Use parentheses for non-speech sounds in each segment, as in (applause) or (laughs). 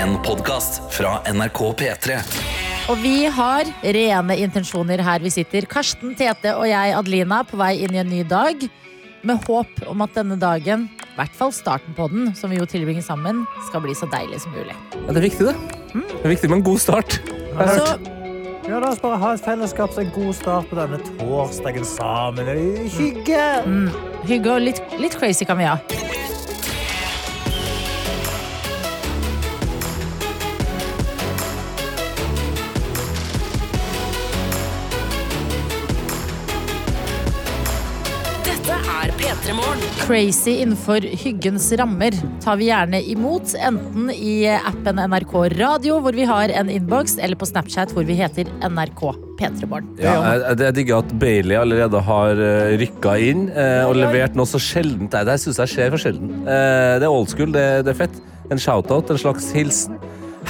En podcast fra NRK P3 Og vi har rene intensjoner her vi sitter. Karsten, Tete og jeg, Adelina, på vei inn i en ny dag. Med håp om at denne dagen, i hvert fall starten på den, som vi jo tilbringer sammen, skal bli så deilig som mulig. Ja, det er viktig, det. Det er viktig med en god start. Jeg har Så hørt. Ja, la oss bare ha et fellesskap så en god start på denne torsdagen sammen. Det er Hygge! hygge og litt, litt crazy kan vi ha. Dette er P3 Morgen. Crazy innenfor hyggens rammer tar vi gjerne imot, enten i appen NRK Radio, hvor vi har en innboks, eller på Snapchat, hvor vi heter NRK P3morgen. Ja, jeg, jeg digger at Bailey allerede har uh, rykka inn eh, og levert noe så sjeldent. Nei, det syns jeg skjer for sjelden. Eh, det er old school, det, det er fett. En shout-out, en slags hilsen.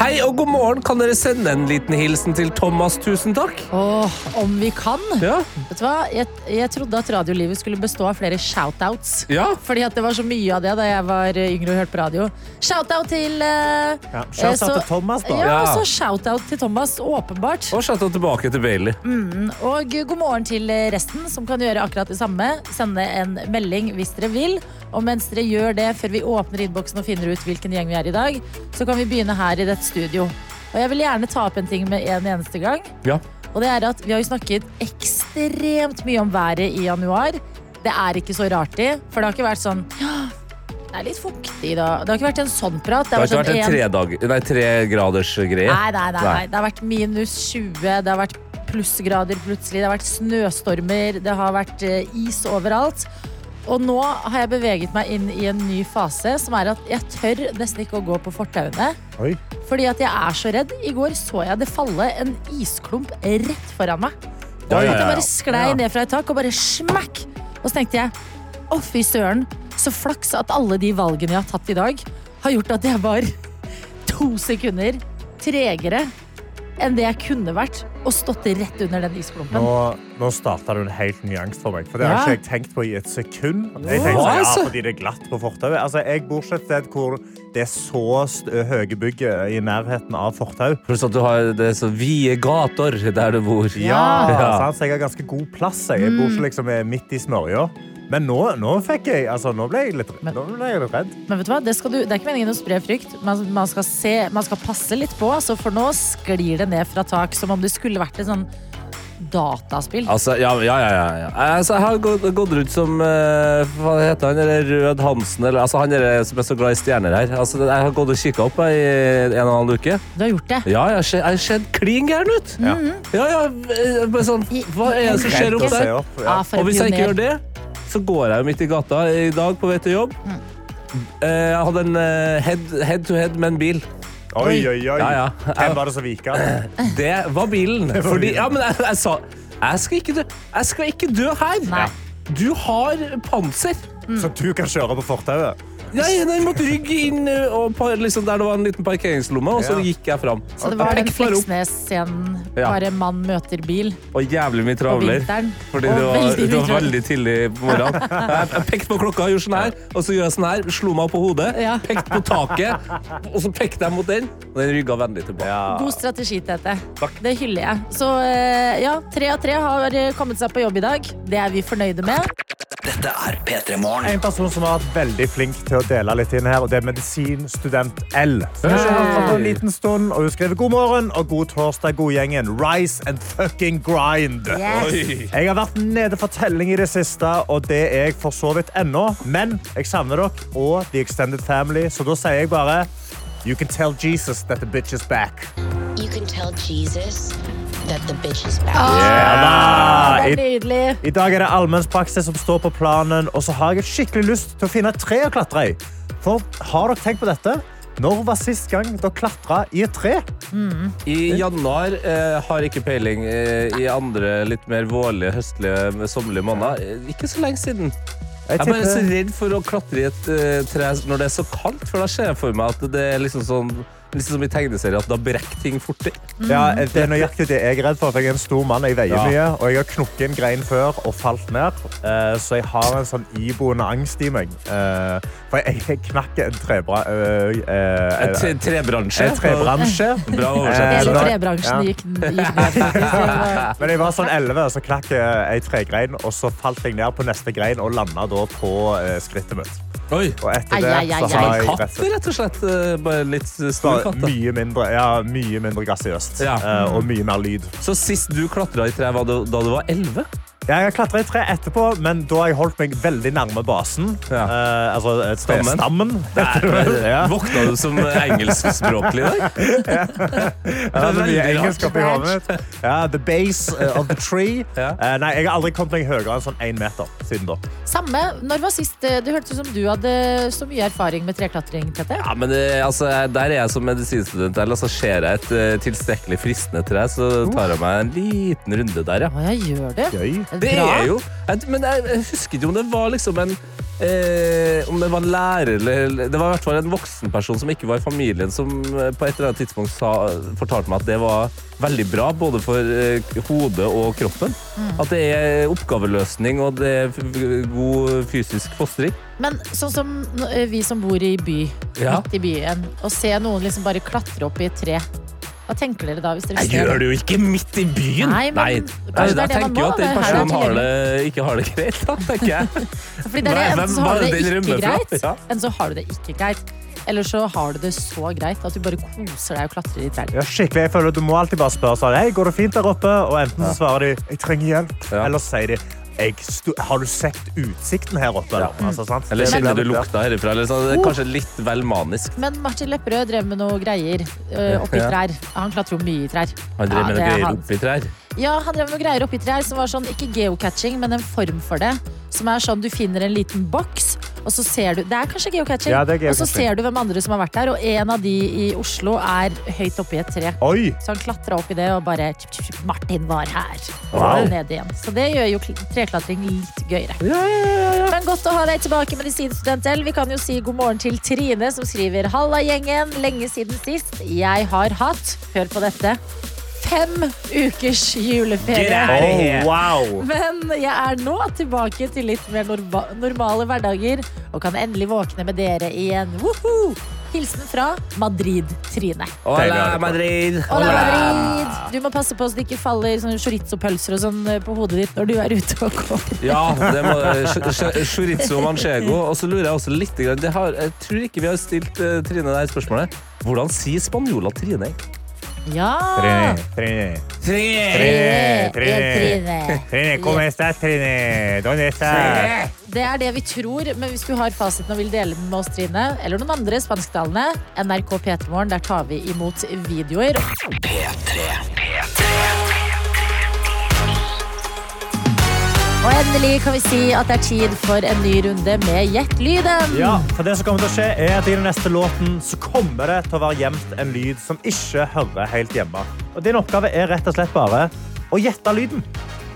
Hei og god morgen! Kan dere sende en liten hilsen til Thomas? Tusen takk! Åh, om vi kan! Ja, Vet du hva? Jeg, jeg trodde at radiolivet skulle bestå av flere shoutouts. ja. Fordi at det var så mye av det da jeg var eh, yngre og hørte på radio. Shoutout til eh, Ja, Shout eh, out så- til Thomas, da. Ja, Ja. og så shoutout til Thomas, åpenbart. Og shout-out tilbake til Bailey. Mm. Og god morgen til resten, som kan gjøre akkurat det samme. Sende en melding hvis dere vil. Og mens dere gjør det, før vi åpner innboksen og finner ut hvilken gjeng vi er i dag, så kan vi begynne her i dette studio. Og jeg vil gjerne ta opp en ting med en eneste gang. Ja. Og det er at vi har jo snakket ekstremt mye om været i januar. Det er ikke så rart det, for det har ikke vært sånn «Ja, Det er litt fuktig da. Det har ikke vært en sånn prat. Det har ikke vært sånn en en- tredag, nei, tregraders greie. Nei, nei, nei, nei. Det har vært minus 20, det har vært plussgrader plutselig, det har vært snøstormer, det har vært eh, is overalt. Og nå har jeg beveget meg inn i en ny fase, som er at jeg tør nesten ikke å gå på fortauene. Oi. Fordi at jeg er så redd. I går så jeg det falle en isklump rett foran meg. Ja, ja, At jeg ja. bare sklei ned fra et tak og bare smakk! Og så tenkte jeg, å fy søren, så flaks at alle de valgene jeg har tatt i dag, har gjort at jeg var (laughs) to sekunder tregere enn det jeg kunne vært, og stått rett under den isklumpen. Nå, nå starta du en helt ny angst for meg. For det Ja. har ikke jeg tenkt på i et sekund. Jeg Hva, tenkte sånn, ja, altså? fordi det er glatt på fortauet. Altså, jeg bor ikke et sted hvor det er så st- høye bygg i nærheten av fortau. Pluss at du har det er så vide gater der du bor. Ja, Eh, sant? Så jeg har ganske god plass. Jeg, jeg bor ikke liksom eh, midt i smørja. Men nå, nå fikk jeg altså, Nå ble jeg litt, Men- nå ble jeg litt redd. Men vet du hva? Det, skal du, det er ikke meningen å spre frykt. Man, man, skal se, man skal passe litt på, så for nå sklir det ned fra tak, som om det skulle vært et sånn dataspill. Altså, ja, ja, ja, ja, ja. Altså, jeg har gått, gått rundt som eh, Hva heter han? Eller Rød Hansen? Eller, altså, han er som er så glad i stjerner her. Altså, jeg har gått og kikka opp jeg, i en og en halv uke. Du har gjort det. Ja, jeg har se- jeg har sett klin gæren ut! Ja. Ja, ja, eh, bare sånn Hva er det som Mm. skjer opp Redd å se der? opp, ja. Ah, for en Og hvis jeg ikke pioner. gjør det, så går jeg jo midt i gata i dag på vei til jobb. Eh, Jeg hadde en eh, head, head to head med en bil. Oi, oi, oi. Ja, ja. Hvem var det som vika? Det var bilen. var Fordi, bilen. ja, men jeg, jeg sa jeg skal, ikke dø. jeg skal ikke dø her! Nei. Du har panser. Så du kan kjøre på fortauet? Jeg, jeg måtte rygge inn ø, og par, liksom, der det var en liten parkeringslomme, og så Ja. gikk jeg fram. Så det var den Pekk bare opp. Fleksnes-scenen. Ja. Bare mann møter bil Og jævlig mye på travler. vinteren. Fordi Og det var, veldig det var mye veldig tidlig på morgenen. Jeg, jeg pekte på klokka, gjorde sånn her, og så gjorde jeg sånn her, slo meg på hodet, Ja. pekte på taket, og så pekte jeg mot den, og den rygga vennlig tilbake. God strategi, Tete. Det hyller jeg. Så eh, ja, tre av tre har eh, kommet seg på jobb i dag. Det er vi fornøyde med. Dette er P3 Morgen En person som har vært veldig flink til å dele litt inn her, og det er medisinstudent L. Som har kjent for en liten stund, og Hun skriver god morgen og god torsdag, god gjengen. Rise and fucking grind. Jeg har vært nede for telling i det siste, og det er jeg for så vidt ennå. Men jeg savner dere og The Extended Family, så da sier jeg bare You can tell Jesus that the bitch is back. You can tell Jesus that the bitch is back. Ja, Det i er nydelig. I dag er det allmennspraksis som står på planen, og så har jeg skikkelig lyst til å finne et tre å klatre i. For har dere tenkt på dette? Når var sist gang dere klatra i et tre? I januar eh, har ikke peiling. Eh, I andre litt mer vårlige, høstlige, sommerlige måneder. eh, Ikke så lenge siden. Jeg Jeg er bare så tipper redd for å klatre i et eh, tre når det er så kaldt, for da ser jeg for meg at det er liksom sånn Litt som i tegneserier, at da brekker ting fortere. Ja, det er nøyaktig det jeg er redd for. for Jeg er en stor mann, jeg veier Ja. mye. Og jeg har knukket en grein før og falt ned. eh, Så jeg har en sånn iboende angst i meg. Eh, For jeg jeg knakk en trebra... eh, eh, Et tre- trebransje. En trebransje. Bra Hele Eh, oversettelse. da- trebransjen ja. gikk, gikk ned. faktisk. eh, Det var- Men jeg var sånn 11, og så knakk jeg ei tregrein, og så falt jeg ned på neste grein og landa da på eh, skrittet mitt. Oi. Og etter Ai, det ai, ai, så har ai. jeg Katt, rett og slett. eh, Bare litt stor bare katt. da. mye mindre, ja, mye mindre gassiøst. Ja. eh, Og mye mer lyd. Så sist du klatra i tre, var da da du var elleve? Jeg har klatra i tre etterpå, men da har jeg holdt meg veldig nærme basen. Ja. Eh, altså eh, trestammen. (laughs) Ja. Våkna du som engelskspråklig (laughs) i dag? Ja, det altså, er mye Veldig rart. engelsk oppi hodet mitt. Ja, the base eh, of the (laughs) tree. Ja. Eh, nei, jeg har aldri kommet meg høyere enn sånn én meter siden da. Samme. Når var sist eh, Det hørtes ut som du hadde så mye erfaring med treklatring, Tete. Ja, men det, altså, jeg- Der er jeg som medisinstudent. eller Altså, ser jeg et eh, tilstrekkelig fristende tre, så tar jeg meg en liten runde der, ja. Å, jeg gjør det. Gøy. Det Bra. er jo jeg- Men jeg jeg husker ikke om det var liksom en Eh, om det var en lærer eller Det var i hvert fall en voksenperson som ikke var i familien, som eh, på et eller annet tidspunkt sa, fortalte meg at det var veldig bra både for eh, hodet og kroppen. At det er oppgaveløsning og det er f- f- god fysisk fostring. Men sånn som eh, vi som bor i by, Ja. midt i byen, og ser noen liksom bare klatre opp i et tre. Hva tenker dere da? hvis dere Jeg ser gjør det jo ikke midt i byen! Nei, men kanskje Nei, det er da det man tenker jeg må, at den det her er personen har det, tilgjengelig. ikke har det greit, da, tenker jeg. Fordi det er det, Nei, Enten hvem- så har du hva det den ikke rømmer fra? greit, Ja. eller så har du det ikke greit. Eller så har du det så greit at du bare koser deg og klatrer i trær. Ja, skikkelig. Jeg føler Du må alltid bare spørre sånn, «Hei, går det fint der oppe. Og enten så svarer de jeg trenger hjelp, Ja. eller så sier de «Jeg sto- har du sett utsikten her oppe? eller?» Altså, sant? Eller Det kjenner blir- du lukta herifra? Eller sånn. Det er kanskje litt vel manisk. Men Martin Lepperød drev med noe greier eh, oppi Ja. trær. Han klatrer jo mye i trær. Han drev det med noe er greier han. oppi trær. Ja, han drev med noe greier oppi trær som var sånn, ikke geocaching, men en form for det. Som er sånn, du finner en liten boks, og så ser du Det er kanskje geocaching. Ja, det er Og så geocaching. ser du hvem andre som har vært der, og en av de i Oslo er høyt oppi et tre. Oi! Så han klatra opp i det og bare tjup, tjup, tjup, Martin var her. Og Wow. så ned igjen. Så det gjør jo kl- treklatring litt gøyere. Men godt å ha deg tilbake, medisinstudent L. Vi kan jo si god morgen til Trine, som skriver Halla, gjengen. Lenge siden sist. Jeg har hatt, hør på dette, fem ukers juleferie. Oh, wow! Men jeg er nå tilbake til litt mer norba- normale hverdager og kan endelig våkne med dere igjen. Woho! Hilsen fra Madrid-Trine. Hola, Madrid! Hola, Madrid! Du må passe på så det ikke faller sånne chorizo-pølser og sånn eh, på hodet ditt når du er ute og går. Ja, det må ch- ch- Chorizo manchego. Og så lurer jeg også litt grann- det har, Jeg tror ikke vi har stilt eh, Trine det her spørsmålet. Hvordan sier spanjola Trine? Ja! Trine, Ah. Trine, Trine! Trine, Trine. Trine. Trine, kom Ja. her, sted, Trine. Donde está? Det er det vi tror, men hvis du har fasiten og vil dele den med oss, Trine, eller noen andre spansktalende, NRK P3morgen, der tar vi imot videoer. Og endelig kan vi si at det er tid for en ny runde med Gjett lyden. Ja, for det som kommer til å skje er at i den neste låten så kommer det til å være gjemt en lyd som ikke hører helt hjemme. Og din oppgave er rett og slett bare å gjette lyden.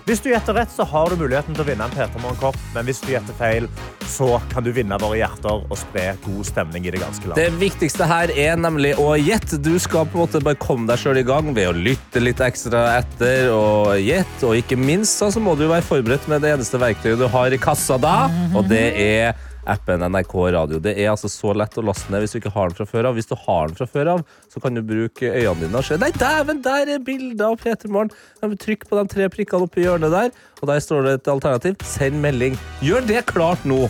Hvis du gjetter rett, så har du muligheten til å vinne en Peter Morgenkopp, men hvis du gjetter feil, så kan du vinne våre hjerter og spre god stemning i det ganske land. Det viktigste her er nemlig å gjette. Du skal på en måte bare komme deg sjøl i gang ved å lytte litt ekstra etter og gjette. Og ikke minst da, så må du jo være forberedt med det eneste verktøyet du har i kassa da, og det er appen NRK Radio. Det er altså så lett å laste ned hvis du ikke har den fra før av. Hvis du har den fra før av, så kan du bruke øynene dine og se Nei, dæven, der er bilder av Peter Morgen. Ja, men Trykk på de tre prikkene oppi hjørnet der, og der står det et alternativ. Send melding. Gjør det klart nå.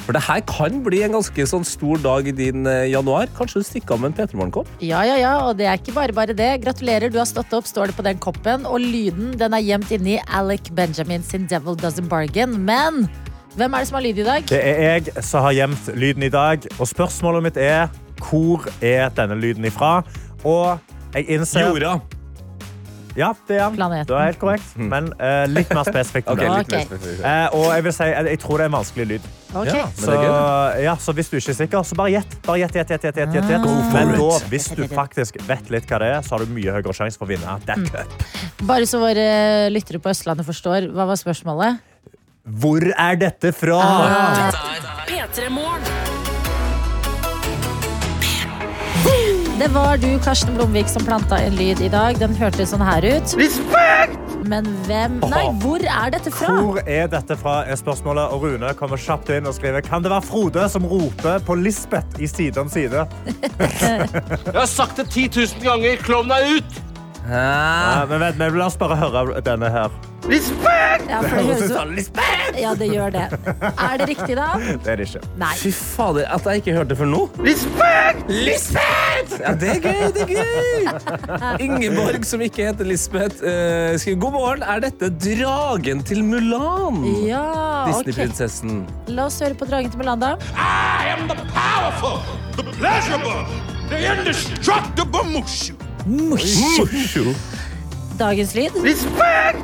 For det her kan bli en ganske sånn stor dag i din eh, januar. Kanskje du stikker av med en P3 Morgenkopp? Ja, ja, ja, og det er ikke bare bare det. Gratulerer, du har stått opp, står det på den koppen. Og lyden den er gjemt inni Alec Benjamin sin Devil Doesn't Bargain. Men hvem er det som har lyd i dag? Det er jeg som har gjemt lyden i dag, og spørsmålet mitt er hvor er denne lyden ifra? Og jeg innser... Ja, det er han. Planeten. Du er helt korrekt, men eh, litt mer spesifikt. enn Mm. Ok, Ok. litt det. mer spesifikt. Eh, og jeg vil si, jeg, jeg tror det er en vanskelig lyd. Ok. Ja, men Så, det er gøy. da. ja, så hvis du ikke er sikker, så bare gjett. Bare gjett, gjett, gjett, gjett, gjett, gjett, gjett. for Men it. da, hvis du faktisk vet litt hva det er, så har du mye høyere sjanse for å vinne. That cup. Bare så våre lyttere på Østlandet forstår, hva var spørsmålet? Hvor er dette fra? P3 Morgen. Det var du, Karsten Blomvik, som planta en lyd i dag. Den hørtes sånn her ut. Men hvem Nei, hvor er dette fra? Hvor er dette fra, er spørsmålet. Og Rune kommer kjapt inn og skriver Kan det være Frode som roper på Lisbeth i Side om side? Jeg har sagt det 10 000 ganger. Klovn er ut! Ah. Nei, Eh, men vent, men La oss bare høre denne her. Ja, for det høres (laughs) jo Ja, det gjør det. Er det riktig, da? Det er det ikke. Nei. Fy fader, at jeg ikke hørte det før nå. Lisbeth! Ja, det er gøy, det er gøy! Ingeborg, som ikke heter Lisbeth, eh, skriver God morgen, er dette dragen til Mulan? Ja, ok. Disney-prinsessen. La oss høre på Dragen til Mulan, da. I am the powerful, the pleasurable, the indestructible Mushu. Dagens lyd. Kunne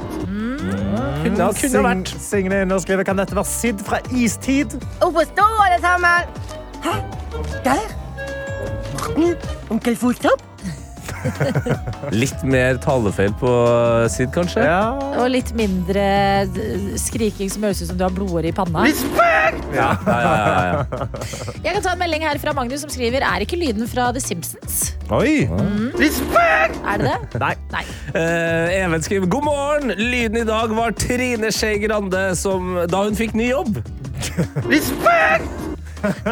ha- kunne ha vært. Sign- Signe inn og skriver Kan dette være Sid fra Istid? Oppe og stå, alle sammen! Hæ? Der? Onkel Fotsopp? Litt mer talefeil på Sid, kanskje? Ja. Og litt mindre eh, skriking som høres ut som du har blodåre i panna. Ja, ja, ja, ja. Jeg kan ta en melding her fra Magnus som skriver Er ikke lyden fra The Simpsons? Oi! Er det det? Nei. Nei. Eh, Even skriver God morgen! Lyden i dag var Trine Skei Grande som, da hun fikk ny jobb.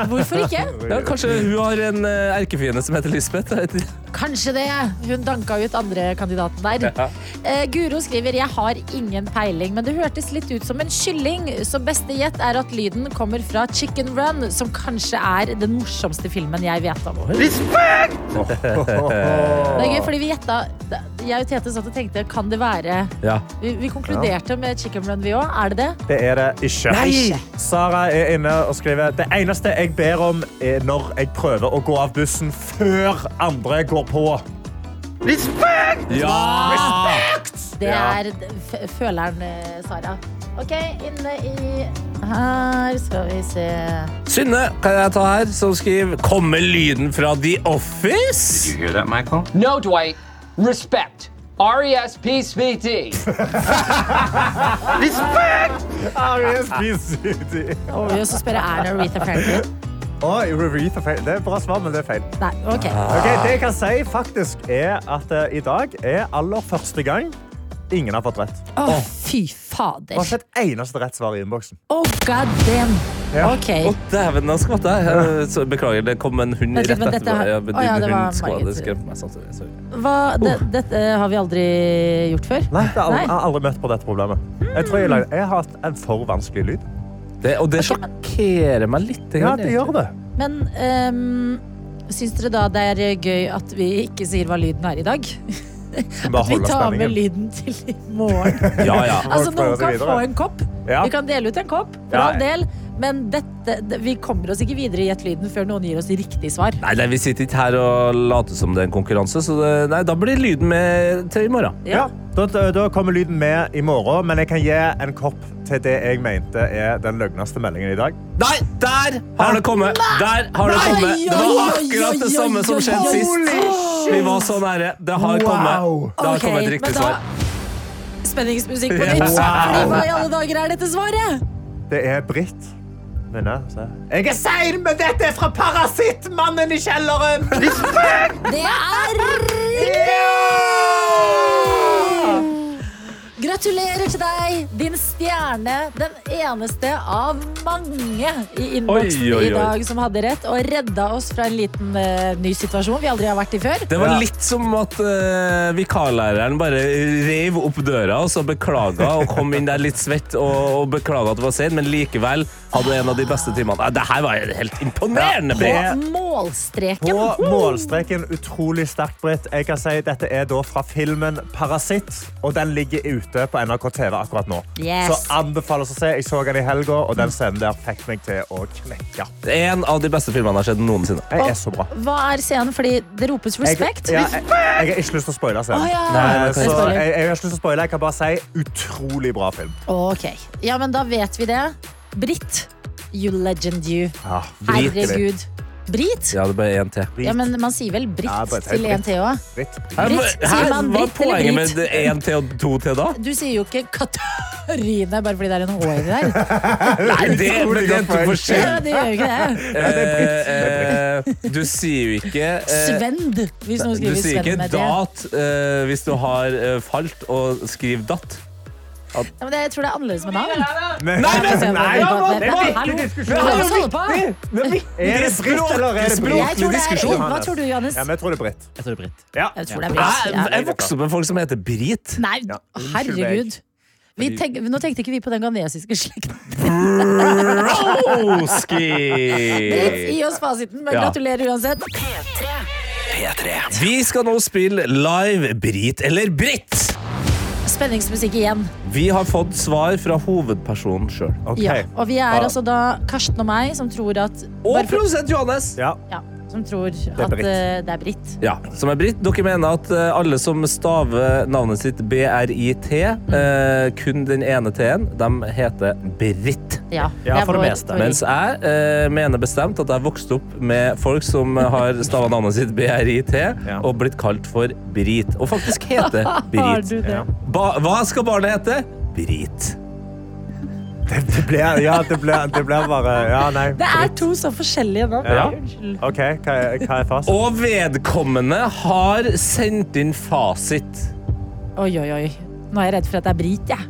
Hvorfor ikke? Ja, kanskje hun har en eh, erkefiende som heter Lisbeth? jeg vet ikke. Kanskje det. Hun danka ut andre kandidaten der. Eh, Guro skriver Jeg har ingen peiling, men det hørtes litt ut som en kylling. Så beste gjett er at lyden kommer fra Chicken Run, som kanskje er den morsomste filmen jeg vet om. Det er gøy, fordi vi gjetta Jeg og Tete satt og tenkte Kan det være Ja. Vi, vi konkluderte med Chicken Run, vi òg. Er det det? Det er det ikke. Sara er inne og skriver Det eneste jeg ber om, er når jeg prøver å gå av bussen før andre går på. Det Ja. er f føleren, eh, Sara. OK, inne i Her skal vi se Synne kan jeg ta her, som skriver Kommer lyden fra The Office? hear that, Michael? No, Dwight. Respect. R E S P C T. Ah, (laughs) Å, Og så spør jeg er det Aretha Franklin. Aretha Franklin. Det er bra svar, men det er feil. Nei, OK. Ok, det jeg kan si, faktisk, er at eh, i dag er aller første gang ingen har fått rett. Å, fy Det var fader. ikke et eneste rett svar i innboksen. Å, god damn. OK. Å, dæven, da skvatt jeg. Eh, så Beklager, det kom en hund Vent rett litt, men etterpå. dette her- Å, ja, Ja, din det var hund skvatt, Margit. det skremte meg samtidig. Sorry. Hva, det, dette har vi aldri gjort før. Oh. Nei, det er aldri, Nei. Jeg har aldri møtt på dette problemet. Jeg tror jeg, lagde- jeg har hatt en for vanskelig lyd. Det, og det sjokkerer meg litt. Ja, det gjør det. Men um, syns dere da det er gøy at vi ikke sier hva lyden er i dag? Bare At (laughs) vi holde tar med spenningen. lyden til i morgen? Ja, ja. Altså, Folk prøver noen seg kan videre. få en kopp. Ja. Vi kan dele ut en kopp, for Ja. all del. Men dette, det- vi kommer oss ikke videre i Gjett-lyden før noen gir oss riktig svar. Nei, nei, vi sitter ikke her og later som det er en konkurranse, så det, nei, da blir lyden med til i morgen. Ja, da, da kommer lyden med i morgen, men jeg kan gi en kopp til det jeg mente er den løgneste meldingen i dag. Nei, der har det kommet! Der har det Nei, kommet. Det oi, var oi, akkurat oi, det samme oi, som oi, skjedde oi. sist. Vi var så nære. Det har kommet. Det har Ok, kommet et men riktig da- svar. Spenningsmusikk på Ja. nytt. Wow. Fordi hva i alle dager er dette svaret? Det er Britt. Minne, se. Jeg er sein, men dette er fra Parasitt, mannen i kjelleren! Det er Ja! Gratulerer til deg, din stjerne. Den eneste av mange i Oi, innboksen oi, oi. i dag som hadde rett, og redda oss fra en liten eh, ny situasjon vi aldri har vært i før. Det var litt som at eh, vikarlæreren bare rev opp døra og så beklaga og kom inn der litt svett og, og beklaga at det var sein, men likevel hadde en av de beste timene. Nei, Det her var helt imponerende, Britt. Ja. På målstreken. På målstreken utrolig sterkt, Britt. Jeg kan si Dette er da fra filmen Parasitt, og den ligger ute på NRK TV akkurat nå. Yes. Så anbefales å se. Jeg så den i helga, og den scenen der fikk meg til å knekke. En av de beste filmene jeg har sett noensinne. Jeg er så bra. Hva er scenen? Fordi det ropes respekt. Jeg, ja, jeg, jeg har ikke lyst til å spoile scenen. Å, ja. Eh, Nei, så det kan jeg ikke. jeg, jeg har ikke lyst til å spoile. Jeg kan bare si utrolig bra film. Ok. Ja, men da vet vi det. Britt, you legend you. Ja, virkelig. Herregud. Brit? Ja, det ble én til. Ja, men man sier vel britt Ja, bare- til en til òg? Britt. Hæ, Britt, hva- sier man Hva er Britt eller poenget Brit? med én til og to til, (laughs) da? Du sier jo ikke Katarina bare fordi det er en H i det der. (laughs) Nei, det, men det er to Ja, forskjellige det gjør jo ikke det. Eh, eh, Du sier jo ikke eh, Svend, hvis noen Du skriver sier Sven ikke med det. dat eh, hvis du har eh, falt, og skriv datt. Ja, men det- jeg tror det er annerledes med navn. Nei, men- nei, men- det er men- viktig hallo. diskusjon. Hva er det vi holder på? Er det Britt eller er det Jeg tror Britt? det er- Språklig Hva tror du, Johannes? Ja, men jeg tror det er Britt. Jeg tror det er Britt. Ja. Jeg tror det er Jeg, Britt. Ja. jeg vokste opp med folk som heter (laughs) Brit. Nei, Ja, unnskyld herregud. meg. Vi tenk, nå tenkte ikke vi på den ghanesiske slekten. Broski! Eh, Eh, Gi oss fasiten, men Ja. gratulerer uansett. P3. Vi skal nå spille live Brit eller Britt. Spenningsmusikk igjen. Vi har fått svar fra hovedpersonen sjøl. Ok. Ja. Og vi er altså da Karsten og meg som tror at Og bare for- produsent Johannes! Ja. ja, Som tror at Britt. eh, det er Britt. Ja, som er britt. Dere mener at eh, alle som staver navnet sitt BRIT, eh, kun den ene T-en, de heter Britt. Ja, Ja, for det vår meste. teori. Mens jeg eh, mener bestemt at jeg vokste opp med folk som har stava navnet sitt BRIT Ja. og blitt kalt for Brit. Og faktisk heter Har du Brit. det? Ja. Ba hva skal barnet hete? Brit. (laughs) Det blir, ja, det blir, det blir bare Ja, nei. Det er to så forskjellige navn. Ja. Unnskyld. OK, hva er, hva er fast? Og vedkommende har sendt inn fasit. Oi, oi, oi. Nå er jeg redd for at det er Brit, jeg.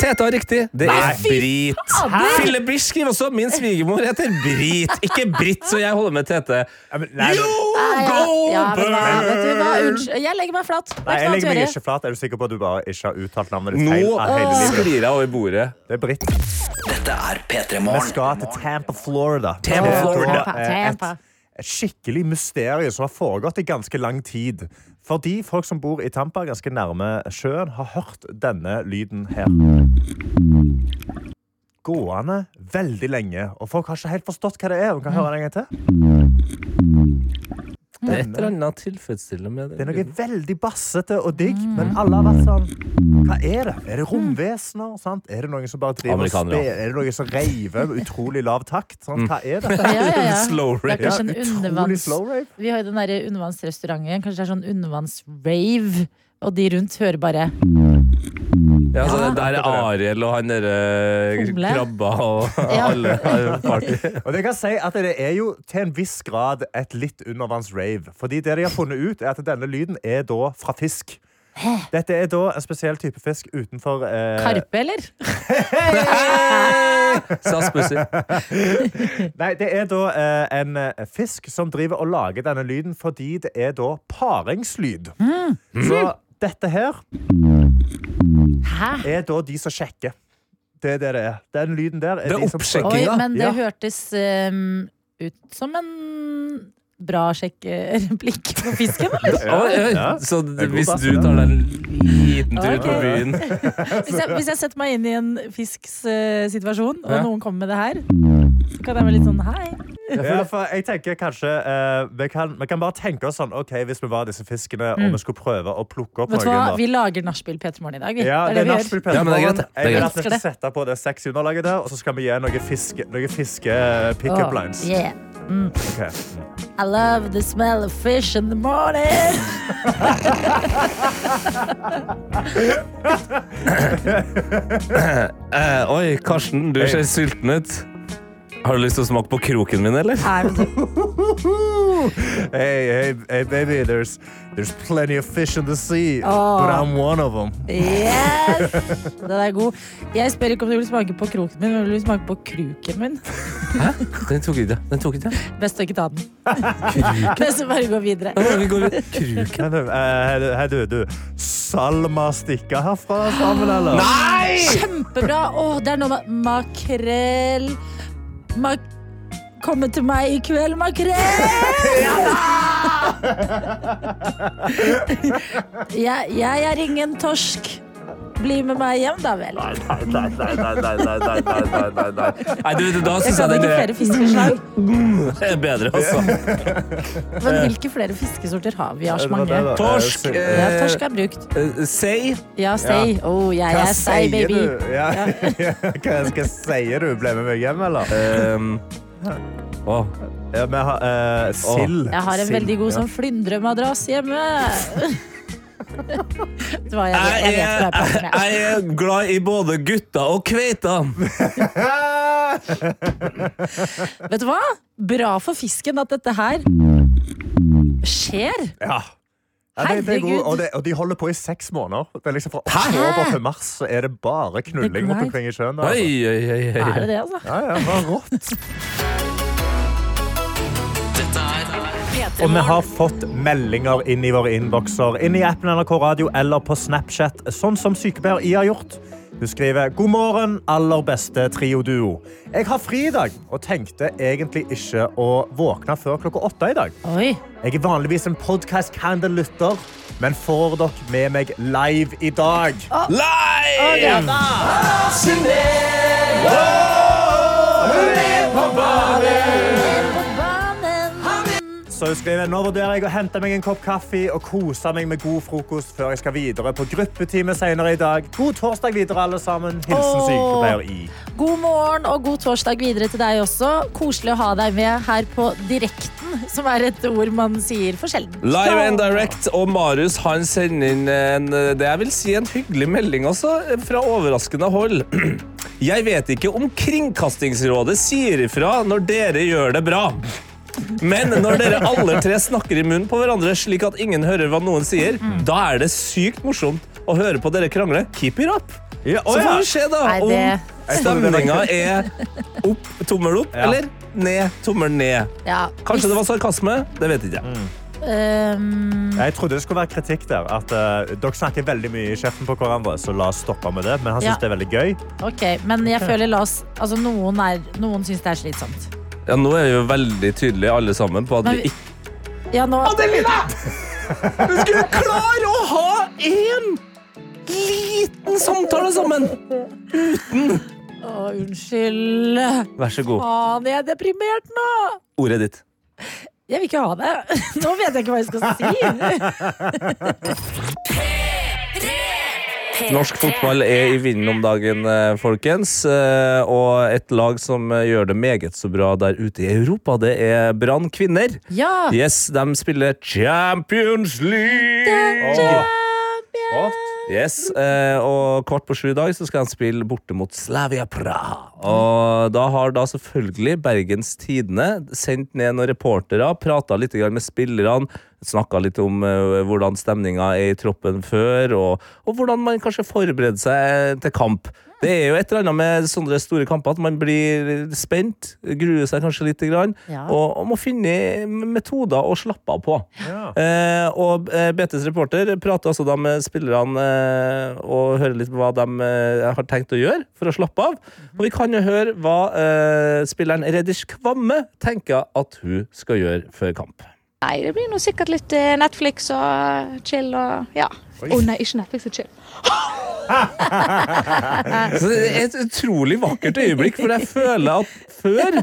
Tete har riktig. Det er Brit. fader! Fille Bisch skriver også min svigermor heter Brit. Ikke Britt, så jeg holder med Tete. Ja, men- Nei, Jo, Nei, ja. go Ja, men hva, vet du hva? burn! Unnskyld. Jeg legger meg flat. Det er nei, ikke jeg noe legger meg annet å ikke flat. Er du sikker på at du bare ikke har uttalt navnet ditt feil? Nå av hele livet? sklir jeg over bordet. Det er Britt. Dette er P3 Vi Morgen. skal til Tampa, Florida. Tampa, Det er Florida. et- Tampa. Et, et skikkelig mysterium som har foregått i ganske lang tid. Fordi folk som bor i Tampa, ganske nærme sjøen, har hørt denne lyden her. Gående veldig lenge, og folk har ikke helt forstått hva det er. Vi kan høre det en gang til. Det er et eller annet Mm. tilfredsstillende med Det er den noe lyden. veldig bassete og digg, men alle har vært sånn Hva er det? Er det romvesener? Sant? Er det noen som bare driver og Amerikanere. spe- Er det noen som reiver med utrolig lav takt? Sant? Hva er dette? (laughs) Ja, ja, ja. Slow Det er rate. kanskje en utrolig undervanns... slow rave. Vi har jo den derre undervannsrestauranten. Kanskje det er sånn undervannsrave, og de rundt hører bare Ja, så det Altså, der er Ariel og han derre Humle. krabba og (laughs) Ja. alle har party. Og det kan jeg si at det er jo til en viss grad et litt undervanns-rave. Fordi det de har funnet ut, er at denne lyden er da fra fisk. Dette er da en spesiell type fisk utenfor eh, Karpe, eller? (laughs) SAS Pussy. Nei, det er da eh, en eh, fisk som driver og lager denne lyden fordi det er da paringslyd. Så dette her Hæ? er da de som sjekker. Det er det det er. Den lyden der er, Det er de som oppsjekking. Oi, Kinga. men det Ja. hørtes ehm, ut som en bra sjekkereplikk på fisken, eller? (laughs) Oi, oi. Ja. Så er god hvis bass, du det. tar deg en liten tur på Ok. byen Hvis jeg, hvis jeg setter meg inn i en fisks eh, situasjon, og Ja. noen kommer med det her, så kan jeg være litt sånn hei. Ja, for jeg tenker kanskje eh, vi, kan, vi kan bare tenke oss sånn OK, hvis vi var disse fiskene, og vi skulle prøve å plukke opp Mm. Vet du hva, noen da. vi lager nachspiel P3 Morgen i dag. vi. Ja, det er vi nachspiel Ja, men det er greit, Pedersen. det. Det er Jeg vil greit. at vi skal sette på det sexy underlaget der, og så skal vi gi noen fiske, noen fiske pickup Åh, lines. yeah. Ok. Mm. I love the smell of fish in the morning. eh, Oi, Karsten, du ser sulten ut. Har du lyst til å smake på kroken min, eller? Hey, hey, hey, baby, there's there's plenty of fish in the sea, but I'm one of them. Yes! Den er god. Jeg spør ikke om du vil smake på kroken min, men vil du smake på kruken min? Hæ? (laughs) Den tok ikke Den tok ikke Best å ikke ta den. (laughs) Men så bare gå videre. Da må vi gå litt kruk. Hei, du, eh, hei, du, du. Salma stikker herfra sammen, eller? Kjempebra! Åh, det er noe med makrell Mak... Komme til meg i kveld, makrell! jeg, jeg er ingen torsk. Bli med meg hjem, da vel. Nei, nei, nei, nei, nei, nei, nei, nei, nei. Nei, du, vet du, da Jeg syns kan jeg ikke det er flere fiskeslag. bedre, altså. Men hvilke flere fiskesorter har vi? Vi har så Det var det, mange. da. Torsk, Eh, eh, Ja, torsk er brukt. Eh, Sei. Ja, sei. Oh, jeg Hva er sei, sier baby. (laughs) Eh, du? Ja, hva skal jeg si? Du ble med meg hjem, eller? Um, Å, Ja, vi har eh, sild. Jeg har en Sild, veldig god ja. sånn flyndremadrass hjemme. (laughs) Det var jeg, jeg vet hva jeg prater med. jeg er glad i både gutter og kveiter. Vet du hva? Bra for fisken at dette her skjer. Ja. Ja, det, det er god, Herregud. og, det, og de holder på i seks måneder. Det er liksom fra oktober til mars så er det bare The knulling grind. rundt omkring i sjøen. Oi, oi, Altså. oi, oi. Er det det, altså? Ja, ja, det var rått. P3 Og vi har Morgen. fått meldinger inn i våre innbokser, inn i appen NRK Radio eller på Snapchat, sånn som sykepleier I har gjort. Hun skriver God morgen, aller beste trio-duo. Jeg har fri i dag og tenkte egentlig ikke å våkne før klokka åtte i dag. Oi. Jeg er vanligvis en podcast-candle-lytter, men får dere med meg live i dag. Live! Så hun skriver nå vurderer jeg å hente meg en kopp kaffe og kose meg med god frokost før jeg skal videre på gruppetime senere i dag. God torsdag videre, alle sammen. Hilsen Åh. sykepleier I. God morgen og god torsdag videre til deg også. Koselig å ha deg med her på direkten, som er et ord man sier for sjelden. Live and direct, og Marius han sender inn en, det jeg vil si en hyggelig melding også, fra overraskende hold. (clears throat) Jeg vet ikke om Kringkastingsrådet sier ifra når dere gjør det bra. Men når dere alle tre snakker i munnen på hverandre slik at ingen hører hva noen sier, Mm. da er det sykt morsomt å høre på dere krangle. Keep it up! Ja, Så å ja. får vi se da Nei, om det- (laughs) stemninga er opp, tommel opp, Ja. eller ned, tommel ned. Ja, Kanskje det var sarkasme? Det vet ikke jeg. Mm. Ehm, Jeg trodde det skulle være kritikk der. At eh, dere snakker veldig mye i kjeften på hverandre, så la oss stoppe med det. Men han syns Ja. det er veldig gøy. ok, men jeg føler la oss Altså, noen, er- noen syns det er slitsomt. Ja, nå er vi jo veldig tydelige alle sammen på at Men vi vi- ikke Ja, nå Vi skulle (laughs) klare å ha én liten samtale sammen! Å, unnskyld. Vær så god. Faen, jeg er deprimert nå. Ordet ditt. Jeg vil ikke ha det. (laughs) Nå vet jeg ikke hva jeg skal si. Norsk fotball er i vinden om dagen, eh, folkens. Eh, Og et lag som eh, gjør det meget så bra der ute i Europa, det er Brann kvinner. Ja. Yes, de spiller Champions League! Yes, eh, og kvart på sju i dag så skal han spille borte mot Slavia Praha. Og da har da selvfølgelig Bergens Tidende sendt ned noen reportere, prata litt grann med spillerne, snakka litt om eh, hvordan stemninga er i troppen før, og, og hvordan man kanskje forbereder seg til kamp. Det er jo et eller annet med sånne store kamper at man blir spent, gruer seg kanskje litt, grann, Ja. og, og må finne metoder å slappe av på. Eh, og eh, BTs reporter prater også da med spillerne eh, og hører litt på hva de eh, har tenkt å gjøre for å slappe av. Og vi kan jo høre hva eh, spilleren Reddish Kvamme tenker at hun skal gjøre før kamp. Nei, det blir nå sikkert litt eh, Netflix og eh, chill og ja. Å nei, ikke Netflix og chill. Så det er et utrolig vakkert øyeblikk, for jeg føler at før,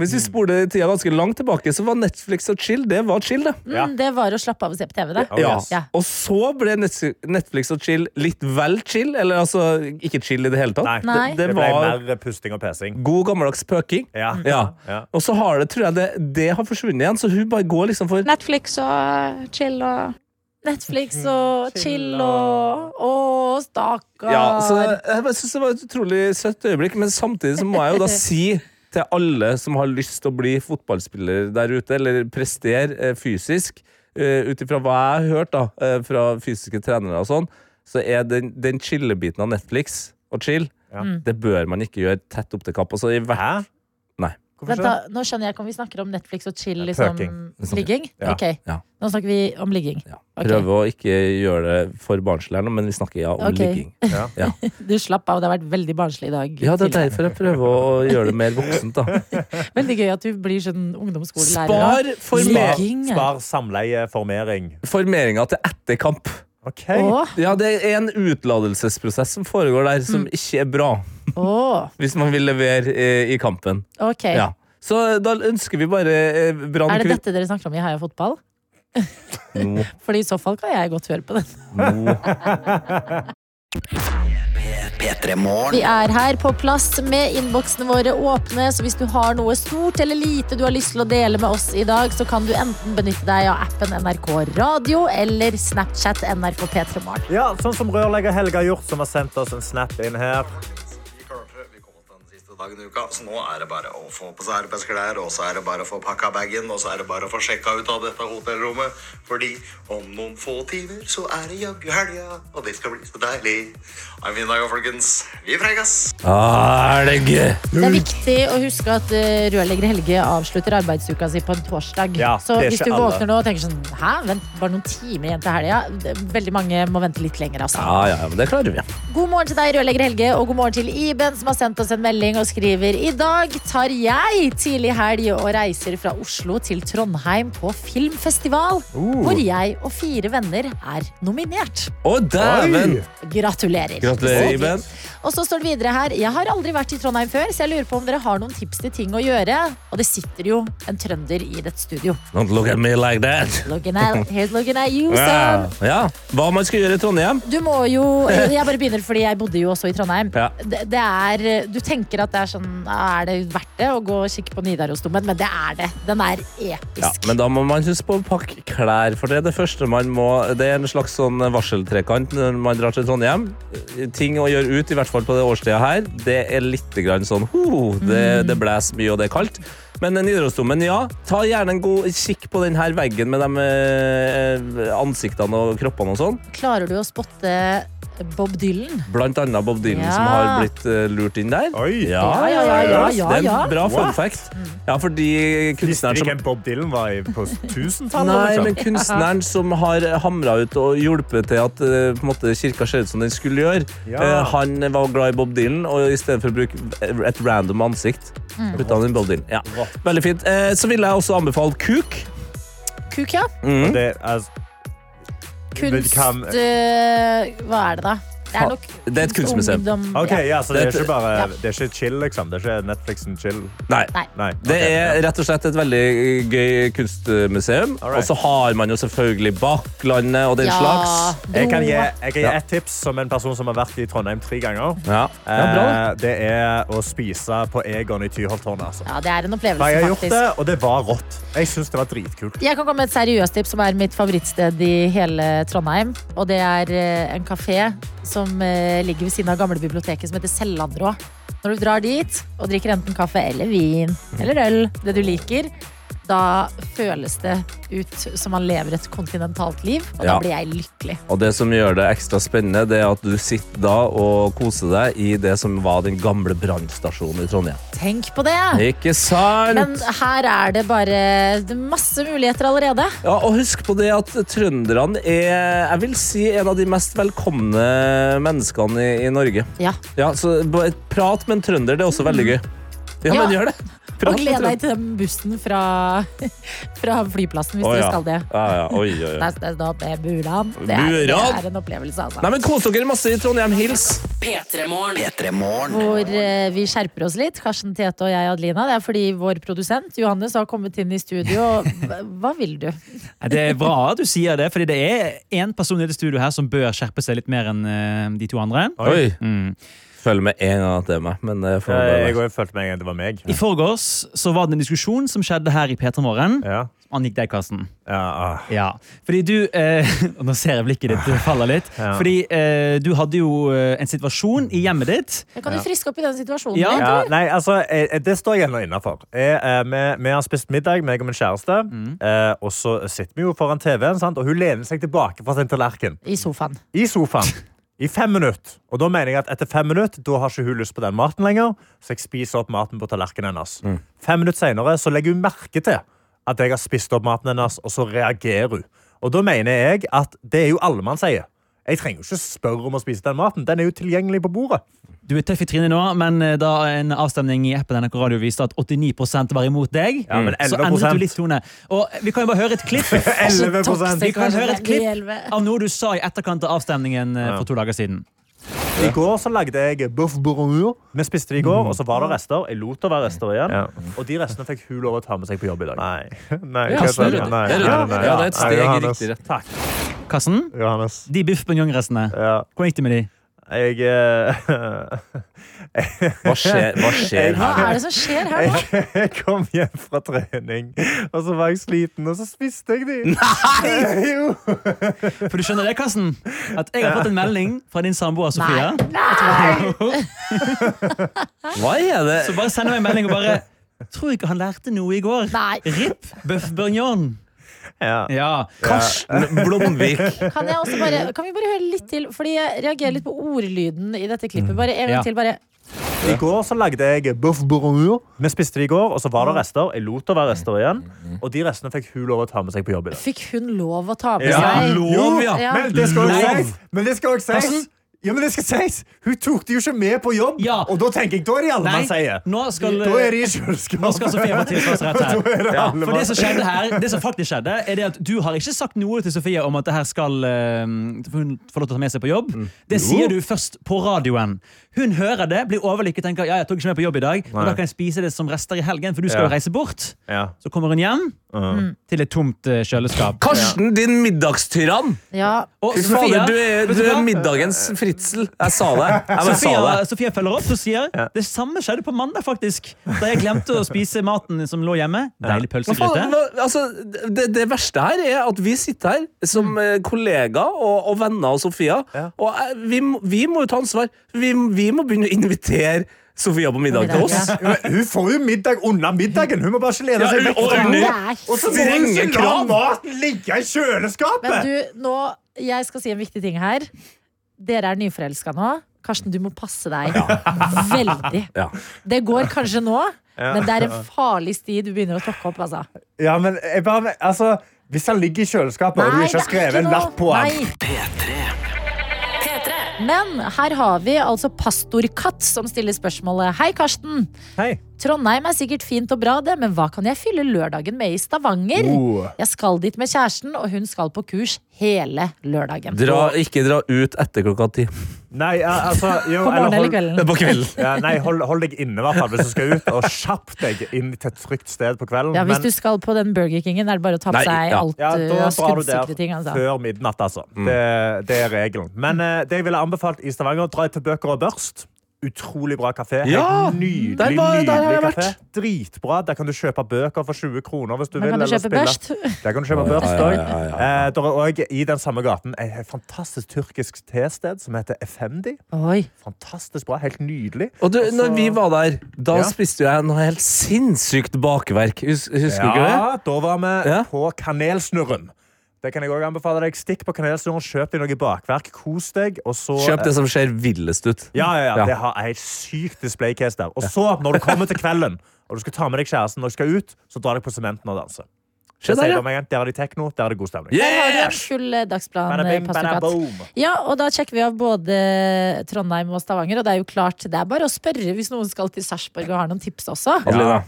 hvis vi spoler tida ganske langt tilbake, så var Netflix og chill, det var chill, det. Ja. Mm, Det var å slappe av og se på TV, det. Oh, Ja. Ja. Og så ble Net- Netflix og chill litt vel chill, eller altså ikke chill i det hele tatt. Nei. Det, Det det ble var mer eh, pusting og pesing. god gammeldags pøking. Ja. Ja. Ja. Og så har det, tror jeg det, det har forsvunnet igjen, så hun bare går liksom for Netflix og eh, chill og Netflix og chill og Å, stakkar. Mm. Ja, så jeg bare synes det var et utrolig søtt øyeblikk, men samtidig så må jeg jo (laughs) da si til alle som har lyst til å bli fotballspiller der ute, eller prestere eh, fysisk, eh, ut ifra hva jeg har hørt da, eh, fra fysiske trenere og sånn, så er den, den chillebiten av Netflix og chill, Ja. Mm. det bør man ikke gjøre tett opp til kapp. Altså, i hvert, Hæ? Nei. Vent Hvorfor da, ikke? nå skjønner jeg ikke om vi snakker om Netflix og chill liksom, Pøking. ligging. Ja. Ok, Ja. Nå snakker vi om ligging. ja. Ok. Prøve å ikke gjøre det for barnslig her nå, men vi snakker ja om Ok. ligging. (laughs) Ja. Ja. Du slapp av, det har vært veldig barnslig i dag. ja, det er tidlig. derfor jeg prøver å gjøre det mer (laughs) voksent, da. Veldig gøy at du blir sånn ungdomsskolelærer. da. Spar for mer Spar, Ligging, ja. spar samleie, formering. formeringa til etter kamp. OK. Åh, Ja, det er en utladelsesprosess som foregår der, som Mm. ikke er bra. åh, Hvis man vil levere eh, i kampen. ok. Ja. Så da ønsker vi bare eh, Brann Er det kvitt- dette dere snakker om i Heia fotball? (laughs) Nå. Fordi i så fall kan jeg godt høre på den. Nå. P3 Morgen. Vi er her på plass med innboksene våre åpne, så hvis du har noe stort eller lite du har lyst til å dele med oss i dag, så kan du enten benytte deg av appen NRK Radio eller Snapchat NRK P3 Morgen. Ja, sånn som rørlegger Helga har gjort, som har sendt oss en snap inn her. dagen i uka. Så nå er det bare å få på seg arbeidsklær, og så er det bare å få pakka bagen, og så er det bare å få sjekka ut av dette hotellrommet. Fordi om noen få timer så er det jaggu helga, og det skal bli så deilig. Ha en fin dag, folkens. Vi prekes! Ah, er det gøy? Det er viktig å huske at eh, rørlegger Helge avslutter arbeidsuka si på en torsdag. Ja, så det er hvis ikke du alle. våkner nå og tenker sånn Hæ, vent, bare noen timer igjen til helga. Det- Veldig mange må vente litt lenger, altså. Ja, ja, ja, men det klarer vi. God morgen til deg, rørlegger Helge, og god morgen til Iben, som har sendt oss en melding og skriver I dag tar jeg tidlig helg og reiser fra Oslo til Trondheim på filmfestival, Uh. hvor jeg og fire venner er nominert. Å, dæven! Gratulerer. Gratulerer, Iben. Og så står det videre her Jeg har aldri vært i Trondheim før, så jeg lurer på om dere har noen tips til ting å gjøre. Og det sitter jo en trønder i dette studio. Don't look at me like that. Looking (laughs) at, here's looking at you, son. Ja, ja. Hva man skal gjøre i Trondheim? sånn. Du må jo Jeg bare begynner fordi jeg bodde jo også i Trondheim. Ja. Det, det er, du tenker at det er sånn Er det verdt det å gå og kikke på Nidarosdomen? Men det er det. Den er episk. Ja, men da må man huske på å pakke klær, for det er det første man må Det er en slags sånn varseltrekant når man drar til Trondheim. Ting å gjøre ut, i hvert fall på det årstida her, det er litt grann sånn ho, det, Mm. det blåser mye, og det er kaldt. Men Nidarosdomen, ja. Ta gjerne en god kikk på den her veggen med de eh, ansiktene og kroppene og sånn. Klarer du å spotte Bob Dylan? Blant annet Bob Dylan Ja. som har blitt eh, lurt inn der. Ja, ja, ja, ja, ja, Det er ja. en bra fun What? fact. Ja, fordi kunstneren som Ikke en Bob Dylan var i- på 1000-tallet. Nei, liksom. men kunstneren som har hamra ut og hjulpet til at eh, på en måte, kirka ser ut som den skulle gjøre, Ja. eh, han var glad i Bob Dylan, og i stedet for å bruke et random ansikt, Mm. putta han inn Bob Dylan. Ja. Veldig fint. Eh, Så ville jeg også anbefale Kuk. Kuk, ja. Mm. Det er Kunst Kan- eh, Hva er det, da? Det er nok Det er et kunstmuseum. ungdom- Ok, ja, så det er Det er- ikke bare Ja. Det er ikke chill, liksom. Det er ikke Netflixen chill. Nei. Nei. Det er rett og slett et veldig gøy kunstmuseum. Og så har man jo selvfølgelig Bakklandet og den Ja, slags. Jeg kan gi, jeg kan gi Ja. et tips som en person som har vært i Trondheim tre ganger. Ja. Ja, bra. Eh, det er å spise på Egon i Tyholttårnet. Altså. Ja, det er en opplevelse, For jeg har gjort faktisk. det, og det var rått. Jeg syns det var dritkult. Jeg kan komme med et seriøst tips, som er mitt favorittsted i hele Trondheim. Og det er eh, en kafé som eh, ligger ved siden av gamle biblioteket, som heter Sellandrå. Når du drar dit og drikker enten kaffe eller vin Mm. eller øl, det du liker, da føles det ut som man lever et kontinentalt liv, og da Ja. blir jeg lykkelig. Og det som gjør det ekstra spennende, det er at du sitter da og koser deg i det som var den gamle brannstasjonen i Trondheim. Tenk på det! Ikke sant? Men her er det bare masse muligheter allerede. Ja, og husk på det at trønderne er jeg vil si, en av de mest velkomne menneskene i, i Norge. Ja. så bare prat med en trønder, det er også veldig gøy. Ja, Ja. men gjør det. Prat Og med gled trønder. deg til den bussen fra, (laughs) fra flyplassen hvis Å, du ja. skal det. Ja, ja. Oi, oi, oi. Der står det opp med Buran. Det er, det Buran? er en opplevelse, altså. Nei, men Kos dere masse i Trondheim. Hils. Hvor eh, vi skjerper oss litt, Karsten Tete og jeg, Adelina. Det er fordi vår produsent Johannes har kommet inn i studio. og hva- Hva vil du? Nei, Det er bra at du sier det, fordi det er én person i det studio her som bør skjerpe seg litt mer enn eh, de to andre. Oi. Mm. Føler med en gang at det er meg. Men det får bare Eh, Jeg være. òg følte meg det var meg. I forgårs så var det en diskusjon som skjedde her i P3 Morgen. Som angikk deg, Karsten. ah. Ja. Fordi du eh, (laughs) og Nå ser jeg blikket ditt det faller litt. Ja. Fordi eh, du hadde jo eh, en situasjon i hjemmet ditt. Kan du friske opp i den situasjonen? Ja. litt, Ja, eller? nei, altså, eh, det står jeg nå innafor. Vi, vi har spist middag, meg og min kjæreste. Eh, og så sitter vi jo foran TV-en, sant? og hun lener seg tilbake fra sin tallerken. I sofaen. I sofaen. I fem minutter. Og da mener jeg at etter fem minutter da har ikke hun lyst på den maten lenger, så jeg spiser opp maten på tallerkenen hennes. Fem minutter senere så legger hun merke til at jeg har spist opp maten hennes, og så reagerer hun. Og da mener jeg at det er jo alle man sier. Jeg trenger jo ikke spørre om å spise den maten. Den er jo tilgjengelig på bordet. Du er tøff i trynet nå, men eh, da en avstemning i appen NRK Radio viste at 89 var imot deg, Ja, men så 11%. endret du litt tone. Og eh, vi kan jo bare høre et (laughs) klipp. 11%. Vi kan høre et klipp Elleve. av noe du sa i etterkant av avstemningen eh, for to dager siden. I går så lagde jeg bøff bourguignon. Vi spiste det i går, og så Mhm. var det rester. Jeg lot det være rester igjen. Og de restene fikk hun lov å ta med seg på jobb i dag. (laughs) Nei, Ja, hva sa du? snill. Nei, Det er nei, rett. nei, Ja, det er et nei, steg i Johannes. riktig Takk. Karsten, Johannes. de biff beignon-restene, hvordan gikk det med de? Jeg eh, Hva skjer- hva skjer Hva er det som skjer her nå? Jeg, (laughs) jeg kom hjem fra trening, og så var jeg sliten, og så spiste jeg de. Nei! Jo. For du skjønner det, Karsten? At jeg har fått en melding fra din samboer Sofia. Hva er det? Så bare sender meg en melding og bare Tror ikke han lærte noe i går. Ripp bøff bourguignon. Ja. Karsten Blomvik. Kan, jeg også bare, kan vi bare høre litt til? Fordi jeg reagerer litt på ordlyden i dette klippet. Bare en Ja. gang til, bare. I går så lagde jeg boeuf bourguignon. Vi spiste det i går, og så var det rester. Jeg lot det være rester igjen, Mhm. og de restene fikk hun lov å ta med seg på jobb i dag. Fikk hun lov å ta på Ja, seg? lov, ja. Men det skal også Lov. sies. Men det skal også sies. Karsten? Ja, men det skal sies. Hun tok det jo ikke med på jobb, og da tenker jeg, da er det alle Nei, man sier. nå skal- da er de i kjøleskapet. Nå skal altså- Sofia få tilsvarsrett her. (laughs) Da er det Ja, alle for det som mann. skjedde her, det som faktisk skjedde, er det at du har ikke sagt noe til Sofia om at det her skal eh, hun få lov til å ta med seg på jobb. Det Mm. Jo. sier du først på radioen. Hun hører det, blir overlykket, tenker ja, jeg tok ikke med på jobb i dag, Nei. men da kan jeg spise det som rester i helgen, for du skal Ja. jo reise bort. Ja. Så kommer hun hjem Mm. til et tomt (laughs) eh, kjøleskap. Karsten, din middagstyrann! Ja. Og Fy Sofia, fader, du er, vet du du er hva? middagens fritsel. Jeg sa det. Jeg bare sa Sofia, det. Sofia følger opp og sier det samme skjedde på mandag, faktisk. Da jeg glemte å spise maten som lå hjemme. Deilig Hva faen, pølsegryte. hva- altså, det, det verste her er at vi sitter her som eh, kollegaer og, og venner av Sofia, og eh, vi, må- vi må jo ta ansvar. Vi, vi må begynne å invitere Sofia på middag til oss. Ja, men Hun får jo middag under middagen. Hun må bare ikke lene Ja, seg vekk. og fra under bordet. Og så må hun strenge ikke la krav. maten ligge i kjøleskapet! Men du, nå, jeg skal si en viktig ting her. Dere er nyforelska nå. Karsten, du må passe deg veldig. Ja. Det går kanskje nå, Ja. men det er en farlig sti du begynner å tråkke opp. Altså. Ja, men jeg bare, altså, Hvis han ligger i kjøleskapet, og du Nei, ikke har det er skrevet en ikke noe. lapp på han Nei. Men her har vi altså pastor Katt som stiller spørsmålet. Hei, Karsten. Trondheim er sikkert fint og bra, det, men hva kan jeg fylle lørdagen med i Stavanger? Oh. Jeg skal dit med kjæresten, og hun skal på kurs hele lørdagen. Dra, ikke dra ut etter klokka ti. Nei, ja, altså jo, På morgenen hold- eller kvelden? På kvelden. (laughs) Ja, nei, hold, hold deg inne i hvert fall hvis du skal ut, og kjapp deg inn til et trygt sted på kvelden. Ja, Hvis men- du skal på den Burger Kingen, er det bare å ta på Nei, seg ja. alt Ja, da uh, av drar du der skuddsikre ting. Altså. Før midnatt, altså. Mm. Det, det er regelen. Men eh, det jeg ville anbefalt i Stavanger, dra til Bøker og Børst. Utrolig bra kafé. Helt Ja, nydelig, der var- der har jeg nydelig kafé. vært. Dritbra. Der kan du kjøpe bøker for 20 kroner hvis du Men vil. kan du eller kjøpe spille. børst? (laughs) Der kan du kjøpe børst Ja, ja, òg. ja, Eh, der er òg i den samme gaten et fantastisk tyrkisk tested som heter Efendi. Oi. Fantastisk bra. Helt nydelig. Og du, når vi var der, da Ja. spiste jeg noe helt sinnssykt bakverk. Hus, husker du ikke Ja, det? da var vi Ja. på Kanelsnurren. Det kan jeg også anbefale deg. Stikk på Kanelsnurren, kjøp deg noe bakverk, kos deg. Og så, Kjøp det som ser villest ut. Ja, ja, ja. Ja. Det har en helt sykt displaycase der. Og så, når du kommer til kvelden, og du skal ta med deg kjæresten og du skal ut, så drar deg på sementen og danser. Se Det der, sier ja. de meg igjen. Der er de tekno, der er det god stemning. Der har du en full eh, dagsplan, Bada eh, bing, pastor bada boom. Katt. Ja, og da sjekker vi av både Trondheim og Stavanger, og det er jo klart, det er bare å spørre hvis noen skal til Sarpsborg og har noen tips også. (laughs) Adelina,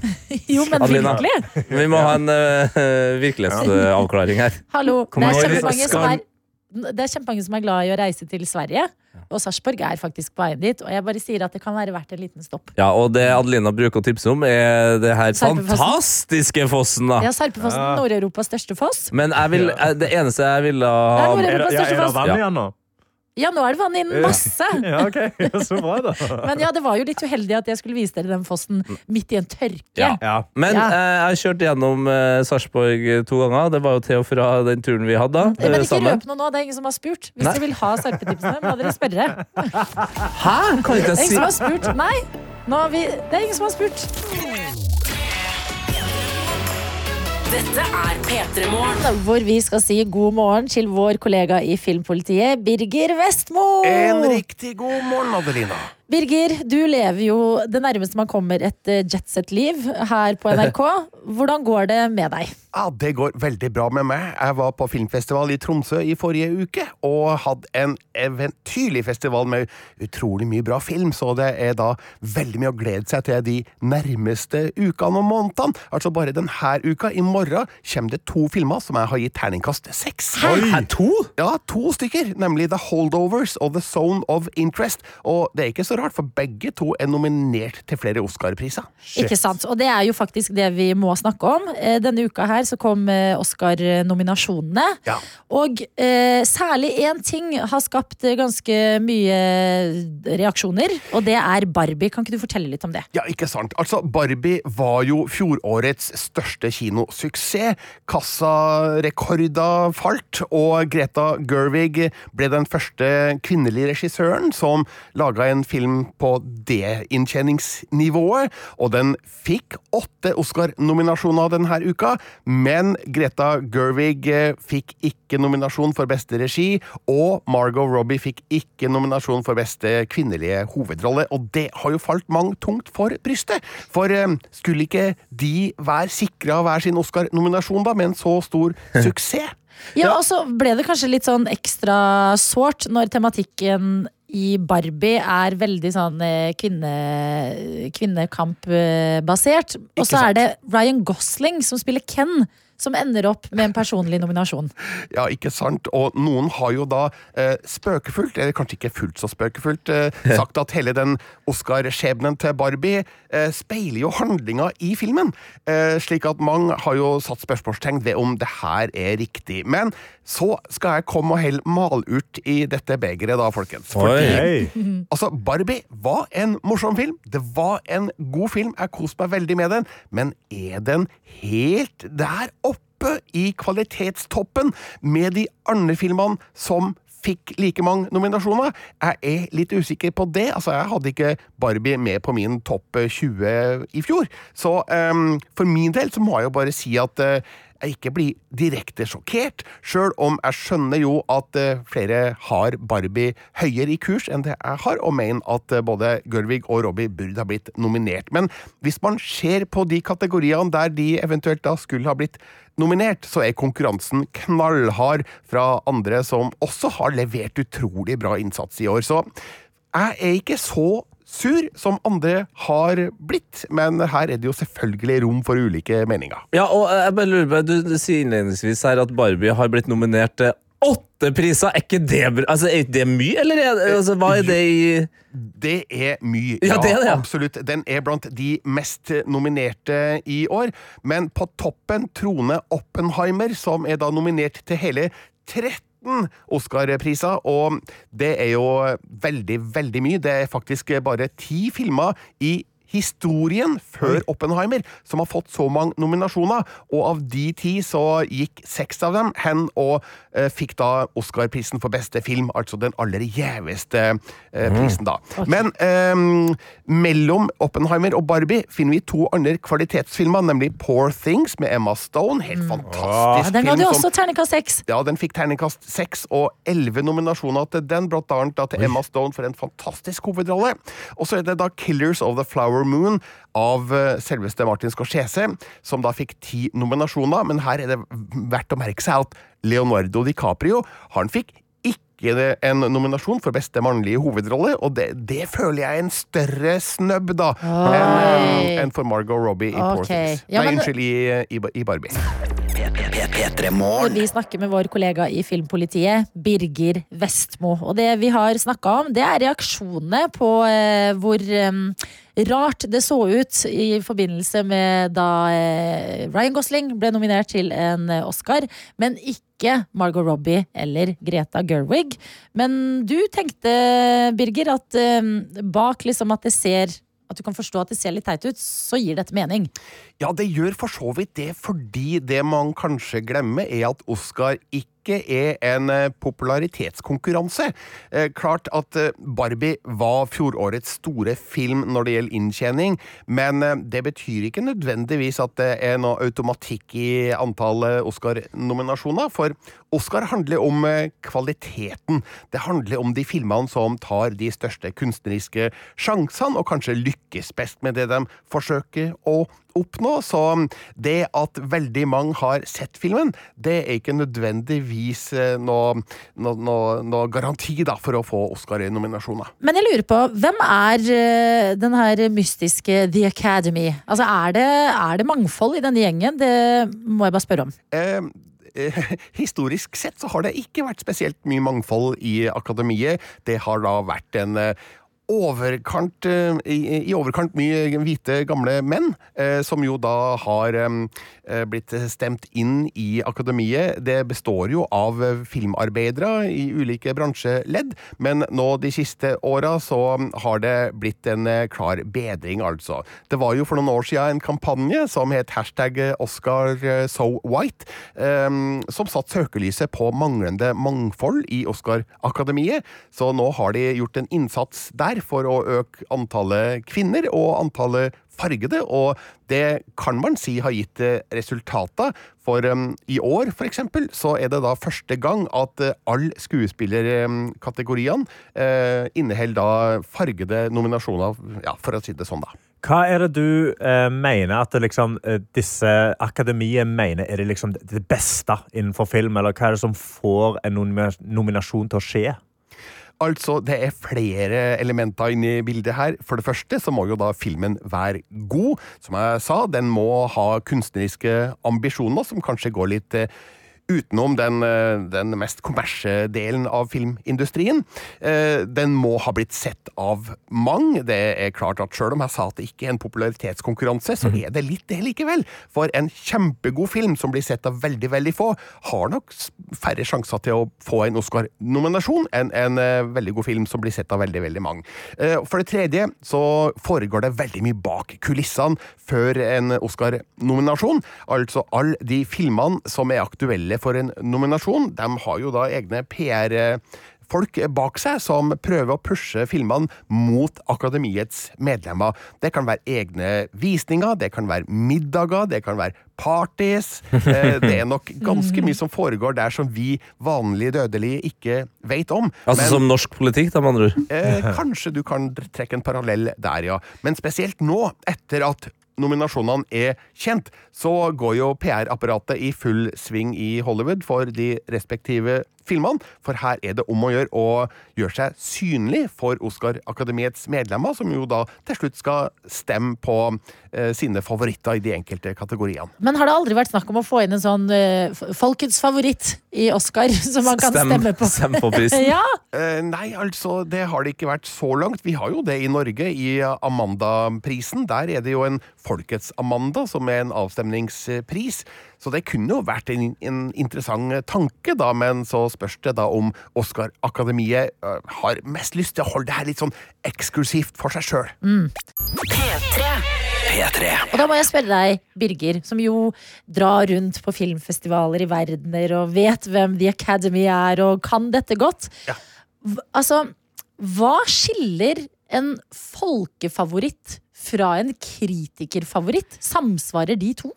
Jo, men Adelina, virkelig. (laughs) vi må ha en eh, virkelighetsavklaring her. Hallo. Det Når er, kjempemange som skal- er, det er kjempemange som er glad i å reise til Sverige. Og Sarpsborg er faktisk på veien dit. Og jeg bare sier at det kan være verdt en liten stopp. Ja, og det Adelina bruker å tipse om, er det her Sarpefossen. fantastiske fossen, da. Ja, Sarpefossen, Ah. Nord-Europas største foss. Men jeg vil, eh, det eneste jeg ville ha Ah, Der var det Er det- ja, er det foss. vann igjen nå? (laughs) Ja, nå er det vann Eh. inne masse! Ja, ok. Så bra, da. Men ja, det var jo litt uheldig at jeg skulle vise dere den fossen midt i en tørke. Ja. Men Ja. eh, jeg har kjørt gjennom eh, Sarpsborg to ganger. Det var jo til og fra den turen vi hadde. da, eh, Men ikke sammen. røp noe nå, det er ingen som har spurt. Hvis Nei. dere vil ha sarpetipsene, må dere spørre. Hæ? Kan ikke jeg Det er si ingen som har spurt. Nei, nå har vi, det er ingen som har spurt. Dette er P3 Morgen. Hvor vi skal si god morgen til vår kollega i Filmpolitiet, Birger Vestmo. En riktig god morgen, Adelina. Birger, du lever jo det nærmeste man kommer et eh, jetset-liv her på NRK. Hvordan går det med deg? Ja, det går veldig bra med meg. Jeg var på filmfestival i Tromsø i forrige uke, og hadde en eventyrlig festival med utrolig mye bra film, så det er da veldig mye å glede seg til de nærmeste ukene og månedene. Altså bare denne uka, i morgen, kommer det to filmer som jeg har gitt terningkast seks. Hæ, to? Ja, to stykker, nemlig The Holdovers og The Zone of Interest, og det er ikke så rart, for begge to er nominert til flere Oscar-priser. Ikke sant? Og det er jo faktisk det vi må snakke om. Eh, Denne uka her så kom eh, Oscar-nominasjonene. Og eh, særlig én ting har skapt eh, ganske mye eh, reaksjoner, og det er Barbie. Kan ikke du fortelle litt om det? Ja, ikke sant. Altså, Barbie var jo fjorårets største kinosuksess. Kassarekorder falt, og Greta Gerwig ble den første kvinnelige regissøren som laga en film på det inntjeningsnivået. Og den fikk åtte Oscar-nominasjoner denne uka, men Greta Gerwig eh, fikk ikke nominasjon for beste regi, og Margot Robbie fikk ikke nominasjon for beste kvinnelige hovedrolle, og det har jo falt mange tungt for brystet. For eh, skulle ikke de være sikra hver sin Oscar-nominasjon, da, med en så stor suksess? Ja, og så ble det kanskje litt sånn ekstra sårt når tematikken i Barbie er veldig sånn eh, kvinne, kvinnekampbasert. Og så er det Ryan Gosling som spiller Ken, som ender opp med en personlig nominasjon. Ja, ikke sant? Og noen har jo da eh, spøkefullt, eller kanskje ikke fullt så spøkefullt, eh, sagt at hele den Oscar-skjebnen til Barbie eh, speiler jo handlinga i filmen. Eh, slik at mange har jo satt spørsmålstegn ved om det her er riktig. Men så skal jeg komme og helle malurt i dette begeret, da, folkens. Oi. altså, Barbie var en morsom film. Det var en god film. Jeg koste meg veldig med den. Men er den helt der oppe i kvalitetstoppen med de andre filmene som fikk like mange nominasjoner? Jeg er litt usikker på det. Altså, jeg hadde ikke Barbie med på min topp 20 i fjor. Så ehm, for min del så må jeg jo bare si at eh, jeg ikke blir direkte sjokkert, sjøl om jeg skjønner jo at eh, flere har Barbie høyere i kurs enn det jeg har, og mener at eh, både Gørvig og Robbie burde ha blitt nominert. Men hvis man ser på de kategoriene der de eventuelt da skulle ha blitt nominert, så er konkurransen knallhard fra andre som også har levert utrolig bra innsats i år. Så jeg er ikke så sur som andre har blitt, men her er det jo selvfølgelig rom for ulike meninger. Ja, og eh, jeg bare lurer på, du, du sier innledningsvis her at Barbie har blitt nominert til åtte priser. Er ikke det, bra? altså, er ikke det mye, eller er, det- altså, hva er det i Det er mye. Ja, det er det, ja. absolutt. Den er blant de mest nominerte i år. Men på toppen troner Oppenheimer, som er da nominert til hele 13 Oscar-priser. Og det er jo veldig, veldig mye. Det er faktisk bare ti filmer i historien før Oppenheimer som har fått så mange nominasjoner, og av de ti så gikk seks av dem hen og eh, fikk da Oscar-prisen for beste film, altså den aller gjeveste eh, Mm. prisen, da. Men ehm, mellom Oppenheimer og Barbie finner vi to andre kvalitetsfilmer, nemlig Poor Things med Emma Stone, helt Ja, fantastisk den film. hadde jo som- også terningkast seks. ja, den fikk terningkast seks og elleve nominasjoner til den, blant annet da til Emma Stone for en fantastisk hovedrolle. Og så er det da Killers of the Flower Moon av eh, selveste Martin Scorsese, som da fikk ti nominasjoner, men her er det verdt å merke seg at Leonardo DiCaprio, han fikk ikke det en nominasjon for beste mannlige hovedrolle, og det, det føler jeg er en større snøbb, da, enn eh, enn for Margot Robbie i Poor Ok. Things. Ja, Nei, men- unnskyld, i, eh, i, i Barbie. Når vi snakker med vår kollega i Filmpolitiet, Birger Vestmo. Og det vi har snakka om, det er reaksjonene på eh, hvor eh, rart det så ut i forbindelse med da eh, Ryan Gosling ble nominert til en eh, Oscar, men ikke Margot Robbie eller Greta Gerwig. Men du tenkte, Birger, at eh, bak liksom at det ser at du kan forstå at det ser litt teit ut, så gir dette mening. Ja, det gjør for så vidt det, fordi det man kanskje glemmer, er at Oscar ikke er en eh, popularitetskonkurranse. Eh, klart at eh, Barbie var fjorårets store film når det gjelder inntjening, men eh, det betyr ikke nødvendigvis at det er noe automatikk i antall eh, Oscar-nominasjoner, for Oscar handler om eh, kvaliteten. Det handler om de filmene som tar de største kunstneriske sjansene, og kanskje lykkes best med det de forsøker å oppnå. Så det at veldig mange har sett filmen, det er ikke nødvendigvis eh, noe, noe, noe, noe garanti da, for å få Oscar-nominasjoner. Men jeg lurer på, hvem er eh, den her mystiske The Academy? Altså, er det, er det mangfold i denne gjengen? Det må jeg bare spørre om. Eh, eh, (laughs) historisk sett så har det ikke vært spesielt mye mangfold i akademiet. Det har da vært en eh, overkant, eh, i, i overkant mye hvite gamle menn, eh, som jo da har eh, blitt stemt inn i akademiet. Det består jo av eh, filmarbeidere i ulike bransjeledd, men nå de siste åra så har det blitt en eh, klar bedring, altså. Det var jo for noen år siden en kampanje som het hashtag Oscar eh, so white, eh, som satt søkelyset på manglende mangfold i Oscar-akademiet. Så nå har de gjort en innsats der for å øke antallet kvinner og antallet fargede, og det kan man si har gitt eh, resultater. For um, i år, for eksempel, så er det da første gang at eh, alle skuespillerkategoriene eh, inneholder da fargede nominasjoner, ja, for å si det sånn, da. Hva er det du eh, mener at det liksom, eh, disse akademiet mener er det, liksom det beste innenfor film? Eller hva er det som får en nomina- nominasjon til å skje? Altså, det er flere elementer inne i bildet her. For det første så må jo da filmen være god. Som jeg sa, den må ha kunstneriske ambisjoner som kanskje går litt eh, utenom den, eh, den mest kommersielle delen av filmindustrien. Eh, Den må ha blitt sett av mange. Det er klart at selv om jeg sa at det ikke er en popularitetskonkurranse, så er det litt det likevel. For en kjempegod film som blir sett av veldig, veldig få, har nok s- færre sjanser til å få en Oscar-nominasjon enn en eh, veldig god film som blir sett av veldig, veldig mange. Eh, For det tredje så foregår det veldig mye bak kulissene før en Oscar-nominasjon. Altså alle de filmene som er aktuelle for en nominasjon, de har jo da egne PR- folk bak seg som prøver å pushe filmene mot akademiets medlemmer. Det kan være egne visninger, det kan være middager, det kan være parties. Eh, Det er nok ganske mye som foregår der som vi vanlige dødelige ikke vet om. Altså Men- som norsk politikk, da, med andre ord. Eh, kanskje du kan dr- trekke en parallell der, ja. Men spesielt nå, etter at nominasjonene er kjent, så går jo PR-apparatet i full sving i Hollywood for de respektive filmene. For her er det om å gjøre å gjøre seg synlig for Oscar-akademiets medlemmer, som jo da til slutt skal stemme på eh, sine favoritter i de enkelte kategoriene. Men har det aldri vært snakk om å få inn en sånn eh, f- folkets favoritt i Oscar, (laughs) som man kan stemme på? (laughs) ja! Eh, nei, altså, det har det ikke vært så langt. Vi har jo det i Norge, i eh, Amanda-prisen. Der er det jo en Folkets Amanda, som er en avstemningspris. Så det kunne jo vært en, en interessant tanke, da, men så spørs det da om Oscar-akademiet eh, har mest lyst til å holde det her litt sånn eksklusivt for seg sjøl. P3. Og da må jeg spørre deg, Birger, som jo drar rundt på filmfestivaler i verdener og vet hvem The Academy er og kan dette godt. Hv- Altså, hva skiller en folkefavoritt fra en kritikerfavoritt? Samsvarer de to?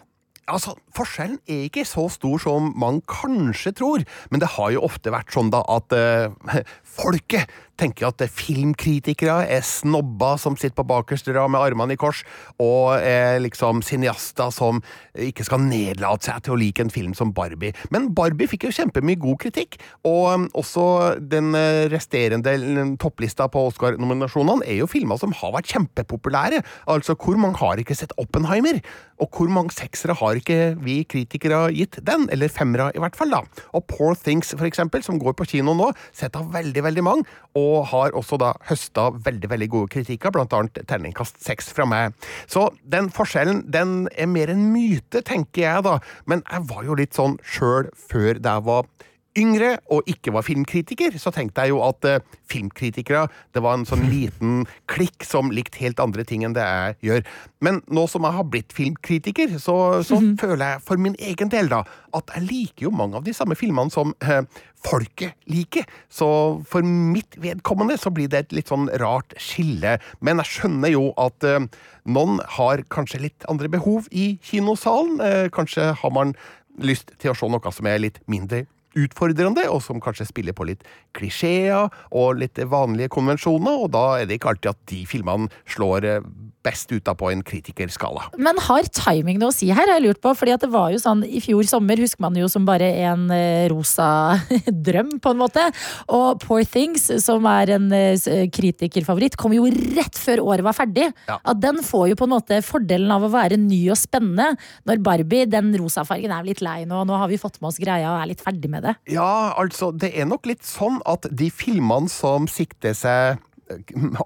Altså, Forskjellen er ikke så stor som man kanskje tror, men det har jo ofte vært sånn da at eh, (laughs) folket tenker at eh, filmkritikere er snobber som sitter på bakerste rad med armene i kors, og er liksom cineaster som ikke skal nedlate seg til å like en film som Barbie. Men Barbie fikk jo kjempemye god kritikk, og eh, også den eh, resterende l- topplista på Oscar-nominasjonene er jo filmer som har vært kjempepopulære. Altså, hvor mange har ikke sett Oppenheimer? Og hvor mange seksere har ikke vi kritikere gitt den? Eller femmere, i hvert fall, da. Og Poor Things, for eksempel, som går på kino nå, sett av veldig, veldig mange, og har også da høsta veldig, veldig gode kritikker, blant annet terningkast seks fra meg. Så den forskjellen, den er mer en myte, tenker jeg, da. Men jeg var jo litt sånn sjøl før da jeg var yngre og ikke var filmkritiker, så tenkte jeg jo at eh, filmkritikere det var en sånn liten klikk som likte helt andre ting enn det jeg gjør. Men nå som jeg har blitt filmkritiker, så, så føler jeg for min egen del da, at jeg liker jo mange av de samme filmene som eh, folket liker. Så for mitt vedkommende så blir det et litt sånn rart skille. Men jeg skjønner jo at eh, noen har kanskje litt andre behov i kinosalen. Eh, kanskje har man lyst til å se noe som er litt mindre utfordrende, og som kanskje spiller på litt klisjeer og litt vanlige konvensjoner, og da er det ikke alltid at de filmene slår eh, best ut da på en kritikerskala. Men har timing noe å si her, har jeg lurt på. Fordi at det var jo sånn, I fjor sommer husker man jo som bare en eh, rosa (laughs) drøm, på en måte. Og Poor Things, som er en eh, s- kritikerfavoritt, kom jo rett før året var ferdig. At den får jo på en måte fordelen av å være ny og spennende. Når Barbie, den rosa fargen, er litt lei nå. Nå har vi fått med oss greia og er litt ferdig med det. Ja, altså, det er nok litt sånn at de filmene som sikter seg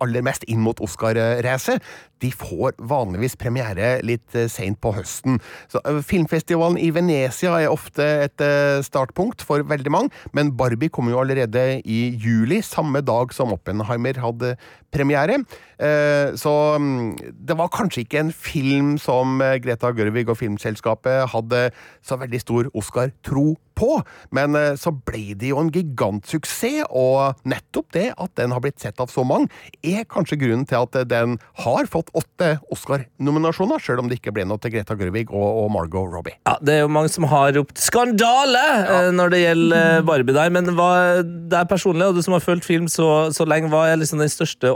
aller mest inn mot Oscar-racet, de får vanligvis premiere litt eh, sent på høsten. Så, eh, filmfestivalen i Venezia er ofte et eh, startpunkt for veldig mange, men Barbie kommer jo allerede i juli, samme dag som Oppenheimer hadde premiere. Eh, Så mm, det var kanskje ikke en film som eh, Greta Gørvig og Filmselskapet hadde så veldig stor Oscar-tro på, men eh, så ble det jo en gigantsuksess, og nettopp det at den har blitt sett av så mange, er kanskje grunnen til at eh, den har fått åtte Oscar-nominasjoner, sjøl om det ikke ble noe til Greta Gørvig og, og Margot Robbie. Ja, det er jo mange som har ropt 'skandale' eh, når det gjelder eh, Barbie der, men hva, det er personlig, og du som har fulgt film så, så lenge, hva er liksom den største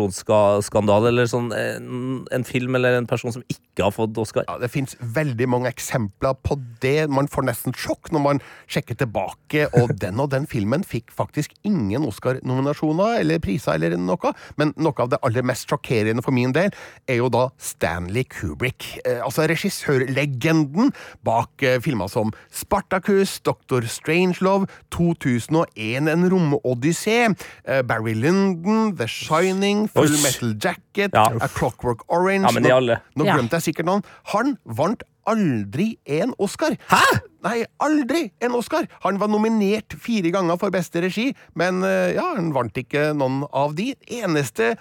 Oscar-nominasjonsskandalen, eller sånn eh, en, en film eller en person som ikke har fått Oscar? Ja, det fins veldig mange eksempler på det. Man får nesten sjokk når man sjekker tilbake, (laughs) og den og den filmen fikk faktisk ingen Oscar-nominasjoner eller priser eller noe. Men noe av det aller mest sjokkerende for min del er jo da Stanley Kubrick. Eh, altså regissørlegenden bak eh, filmer som Spartacus, Dr. Strangelove, 2001 En romodyssé, eh, Barry Lyndon, The Shining, Full Oi. Metal Jacket, Ja. A Clockwork Orange Ja, men de Nå- alle. Nå Ja. glemte jeg sikkert noen. Han vant aldri en Oscar. Hæ? Nei, aldri en Oscar! Han var nominert fire ganger for beste regi, men eh, ja, han vant ikke noen av de. Eneste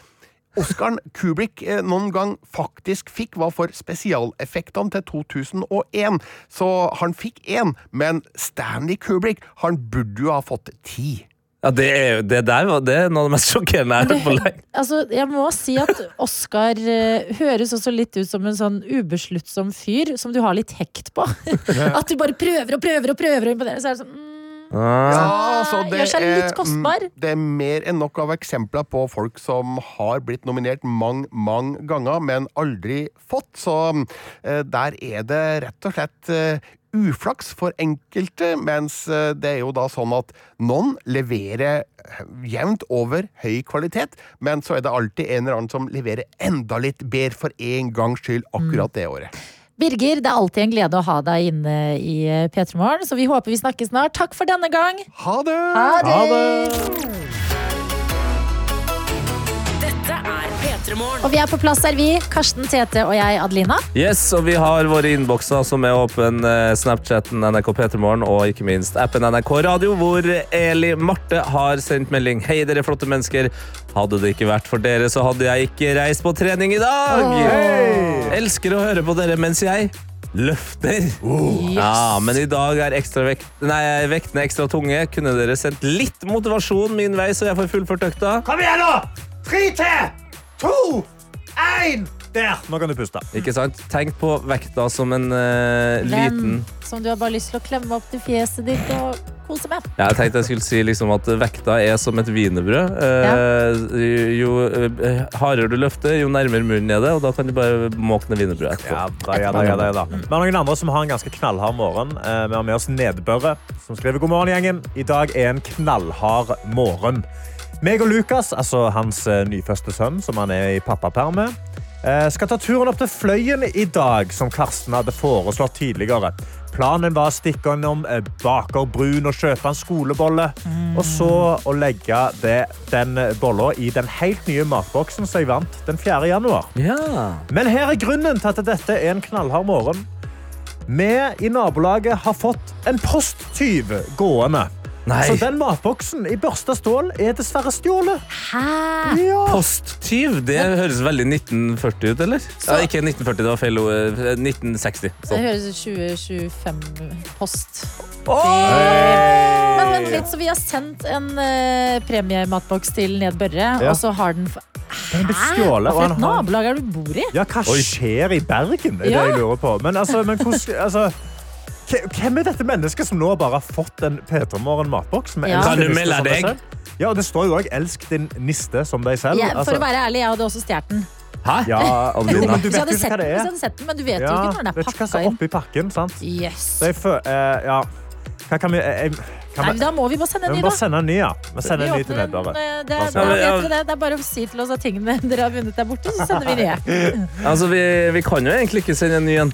Oscaren (laughs) Kubrick eh, noen gang faktisk fikk, var for spesialeffektene til 2001. Så han fikk én, men Stanley Kubrick, han burde jo ha fått ti. Ja, det, er, jo- det der var det er noe av det mest sjokkerende jeg har hørt på lenge. Altså, jeg må si at Oskar eh, høres også litt ut som en sånn ubesluttsom fyr som du har litt hekt (laughs) på. At du bare prøver og prøver og prøver å imponere. Så er det sånn, mm, Ja, så det Gjør seg litt er- kostbar. mm, Det er mer enn nok av eksempler på folk som har blitt nominert mange, mange ganger, men aldri fått. Så eh, der er det rett og slett eh, uflaks for enkelte, mens eh, det er jo da sånn at noen leverer eh, jevnt over høy kvalitet, men så er det alltid en eller annen som leverer enda litt bedre for en gangs skyld Mm. akkurat det året. Birger, det er alltid en glede å ha deg inne i eh, P3 Morgen, så vi håper vi snakkes snart. Takk for denne gang. Ha det! Ha det! Dette er P3 Og vi er på plass, er vi. Karsten, Tete og jeg, Adelina. Yes, og vi har våre innbokser som er åpen. eh, Snapchatten NRK Petermorgen og ikke minst appen NRK Radio, hvor Eli Marte har sendt melding. Hei, dere flotte mennesker. Hadde det ikke vært for dere, så hadde jeg ikke reist på trening i dag. Elsker å høre på dere mens jeg løfter. Ja, men i dag er ekstra vekt, nei, vektene ekstra tunge. Kunne dere sendt litt motivasjon min vei, så jeg får fullført økta? Kom igjen, nå! Tre til! To! Én! Der! Nå kan du puste. Ikke sant? Tenk på vekta som en eh, liten Venn som du har bare lyst til å klemme opp til fjeset ditt og kose med. Ja, Jeg tenkte jeg skulle si liksom at vekta er som et wienerbrød. Eh, jo jo, eh, hardere du løfter, jo nærmere munnen er det, og da kan du bare måkne wienerbrødet. Ja, Ja da, ja da, ja da. Vi har noen andre som har en ganske knallhard morgen. Eh, Vi har med oss Nedbøre, som skriver god morgen, gjengen. I dag er en knallhard morgen. Meg og Lukas, altså hans eh, nyfødte sønn, som han er i pappaperm med, eh, skal ta turen opp til Fløyen i dag, som Karsten hadde foreslått tidligere. Planen var å stikke innom eh, Baker Brun og kjøpe en skolebolle, og så å legge det, den bolla i den helt nye matboksen som jeg vant den 4. januar. Men her er grunnen til at dette er en knallhard morgen. Vi i nabolaget har fått en posttyv gående. Nei. Så den matboksen i børsta stål er dessverre stjålet. Hæ? Ja. Posttyv? Det høres veldig 1940 ut, eller? Ja, ikke 1940, det var feil ord. Eh, 1960. Det Sånn. høres ut som 2025-post. Eh, Hey! Men vent litt, så vi har sendt en eh, premiematboks til Ned Børre, Ja. og så har den f- Den ble Hæ? stjålet, Hva og for han et har- nabolag er det du bor i? Ja, hva skjer i Bergen? Er Ja. det jeg lurer på. Men, altså, men hvordan altså, hve- Hvem er dette mennesket som nå bare har fått en P3 Morgen-matboks? med Ja. elsk Kan din du niste melde som deg deg? selv? Ja, og det står jo òg 'elsk din niste som deg selv'. Ja, for altså. å være ærlig, jeg hadde også stjålet den. Hæ? Ja, (laughs) Adelina. jo, men du Hvis jeg vet jo hadde ikke sett hva den, hvis det er. jeg hadde sett den, men du vet jo Ja, ikke når den vet er ikke hva pakka som er inn. oppi pakken, sant? Yes. Så jeg føler eh, Ja. Hva kan vi eh, kan Nei, vi- da må vi bare sende en Vi ny, må da. bare sende en ny, ja. Vi sender en ny Vi til åpner en, Nedbare. eh, Det Da er- da sender vi- vet dere det. Det er bare å si til oss at tingene (laughs) dere har vunnet, er borte, så (laughs) sender vi nye. Altså, vi, vi kan jo egentlig ikke sende en ny en.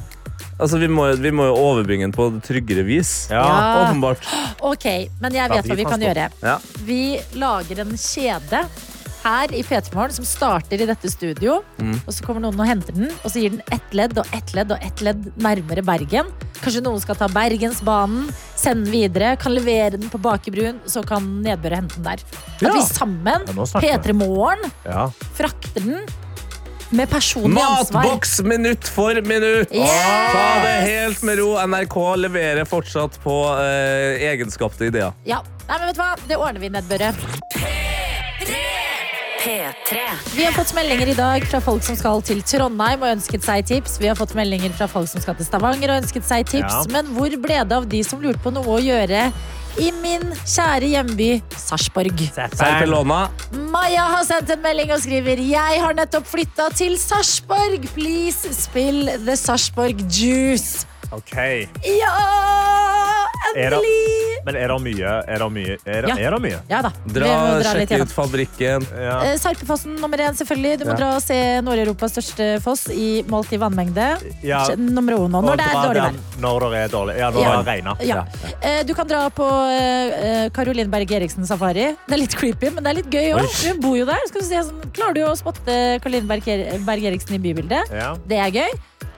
Altså, vi må, vi må jo overbringe den på tryggere vis. Ja. Åpenbart. Ok, men jeg vet hva vi kan gjøre. Ja. Vi lager en kjede her i P3 Morgen som starter i dette studio. Mm. Og så kommer noen og henter den, og så gir den ett ledd og ett ledd og ett ledd nærmere Bergen. Kanskje noen skal ta Bergensbanen, sende den videre, kan levere den på Bakebrun, så kan Nedbør hente den der. At Ja. vi sammen, Ja, nå snakker vi. P3 Morgen, Ja. frakter den med personlig ansvar. Matboks minutt for minutt! Yes! Ta det helt med ro. NRK leverer fortsatt på eh, egenskapte ideer. Ja. Nei, men vet du hva? Det ordner vi, Nedbøre. P3. Vi har fått meldinger i dag fra folk som skal til Trondheim og ønsket seg tips. Vi har fått meldinger fra folk som skal til Stavanger og ønsket seg tips. Ja. Men hvor ble det av de som lurte på noe å gjøre i min kjære hjemby Sarpsborg? Serpelona. Maja har sendt en melding og skriver Jeg har nettopp flytta til Sarpsborg. Please spill The Sarpsborg Juice. OK. Ja! Er det, Endelig! men er det mye? Er det mye? Er det, Ja. er det mye? Ja da. Vi Dra, må dra litt sjekk gjennom. ut fabrikken. Eh, Sarpefossen nummer én, selvfølgelig. Du må Ja. dra og se Nord-Europas største foss i målt i vannmengde. Ja. Skje- Nummer én nå, Og når det er dra dårlig der vær. Når det er dårlig. Ja, når Ja. det regner. Ja. Eh, Du kan dra på eh, eh, Caroline Berg Eriksen safari. Det er litt creepy, men det er litt gøy òg. Oi. Hun bor jo der. Skal du se, sånn, klarer du å spotte Caroline Berg, Er- Berg Eriksen i bybildet? Ja. Det er gøy.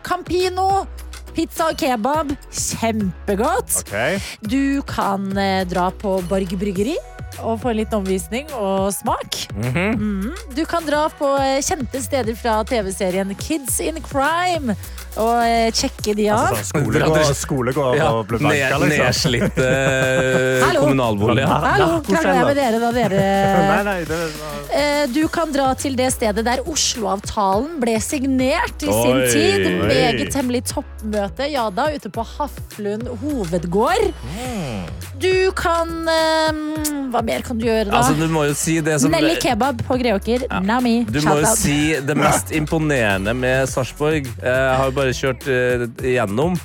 Campino. Pizza og kebab. Kjempegodt. Ok. Du kan eh, dra på Borg bryggeri og få en liten omvisning og smak. Mhm. Mm. Du kan dra på eh, kjente steder fra TV-serien Kids in Crime og eh, sjekke de av. Altså, sånn skolegård, skolegård Ja, og bli banka, ned- liksom. Nedslitt eh, (laughs) Hallo. kommunalbolig. ja. Hallo, krangler jeg med dere da (laughs) Nei, dere nei, det var- Eh, Du kan dra til det stedet der Osloavtalen ble signert i sin Oi. tid. Oi. Meget hemmelig toppmøte, ja da, ute på Haflund hovedgård. Mm. Du kan eh, Hva mer kan du gjøre, da? Altså, du må jo si det som Nelly kebab på Greåker. Nami. Du må jo si det mest imponerende med Sarpsborg. Eh, Jeg har jo bare kjørt eh, gjennom.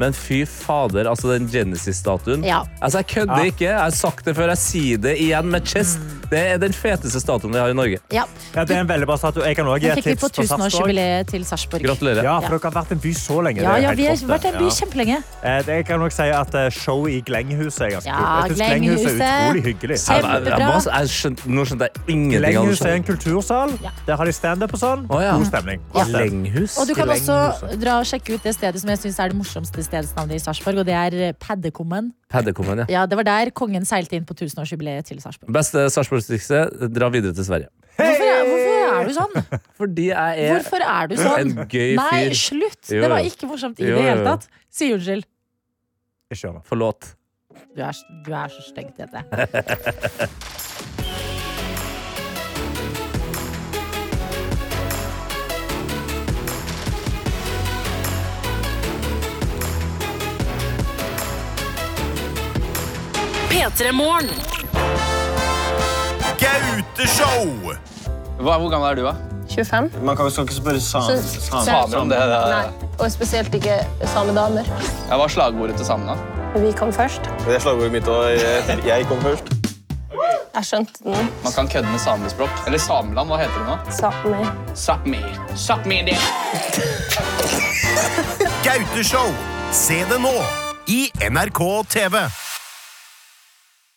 Men fy fader, altså den Genesis-statuen. Ja. Altså, Jeg kødder Ja. ikke. Jeg har sagt det før, jeg sier det igjen med chest. Mm. Det er den feteste statuen vi har i Norge. Ja. Ja, det er en veldig bra statue. Jeg kan også gi Den et fikk vi tips på på Sarpsborg. 1000-årsjubileet til Sarpsborg. Gratulerer. Ja, Ja. for dere har vært en by så lenge. Ja, Det er ja, helt vi har rått, vært det. en by Ja. kjempelenge. Eh, det- Jeg kan nok si at eh, show i Glenghuset er ganske Ja, eh, kult. Jeg synes Glenghuset er Glenghuset. utrolig hyggelig. Kjempebra. Jeg- jeg- jeg bare- nå skjønte jeg ingenting av det Glenghuset selv. er en kultursal. Der har de standup og sånn. God stemning. Ja. Glenghus? Og du kan altså. også dra og sjekke ut det stedet som jeg synes er det morsomste stedsnavnet i Sarpsborg, og det er Paddekummen. Paddekommen, ja. Ja, det var der kongen seilte inn på tusenårsjubileet til Sarpsborg. Beste Sarpsborg-trikset, dra videre til Sverige. Hvorfor er, hvorfor er du sånn? Fordi (laughs) jeg er Hvorfor er du sånn? En gøy Nei, fyr. slutt! Jo, Det var jo. ikke morsomt i det Jo, jo, hele jo. tatt. Si unnskyld. Forlåt. Du er, du er så stygg, Tete. P3 Morgen. Gauteshow! Hva, hvor gammel er du, da? 25. Man kan jo skal ikke spørre sa- Så- sa- så- samer om det. Nei, og spesielt ikke samedamer. Jeg var slagordet til samene. Vi kom først. Det er slagordet mitt, og jeg, kom først. Jeg skjønte den. Man kan kødde med samespråk. Eller sameland, hva heter det nå? Sápmi. Sápmi. Sápmi det. Gauteshow. Se det nå i NRK TV.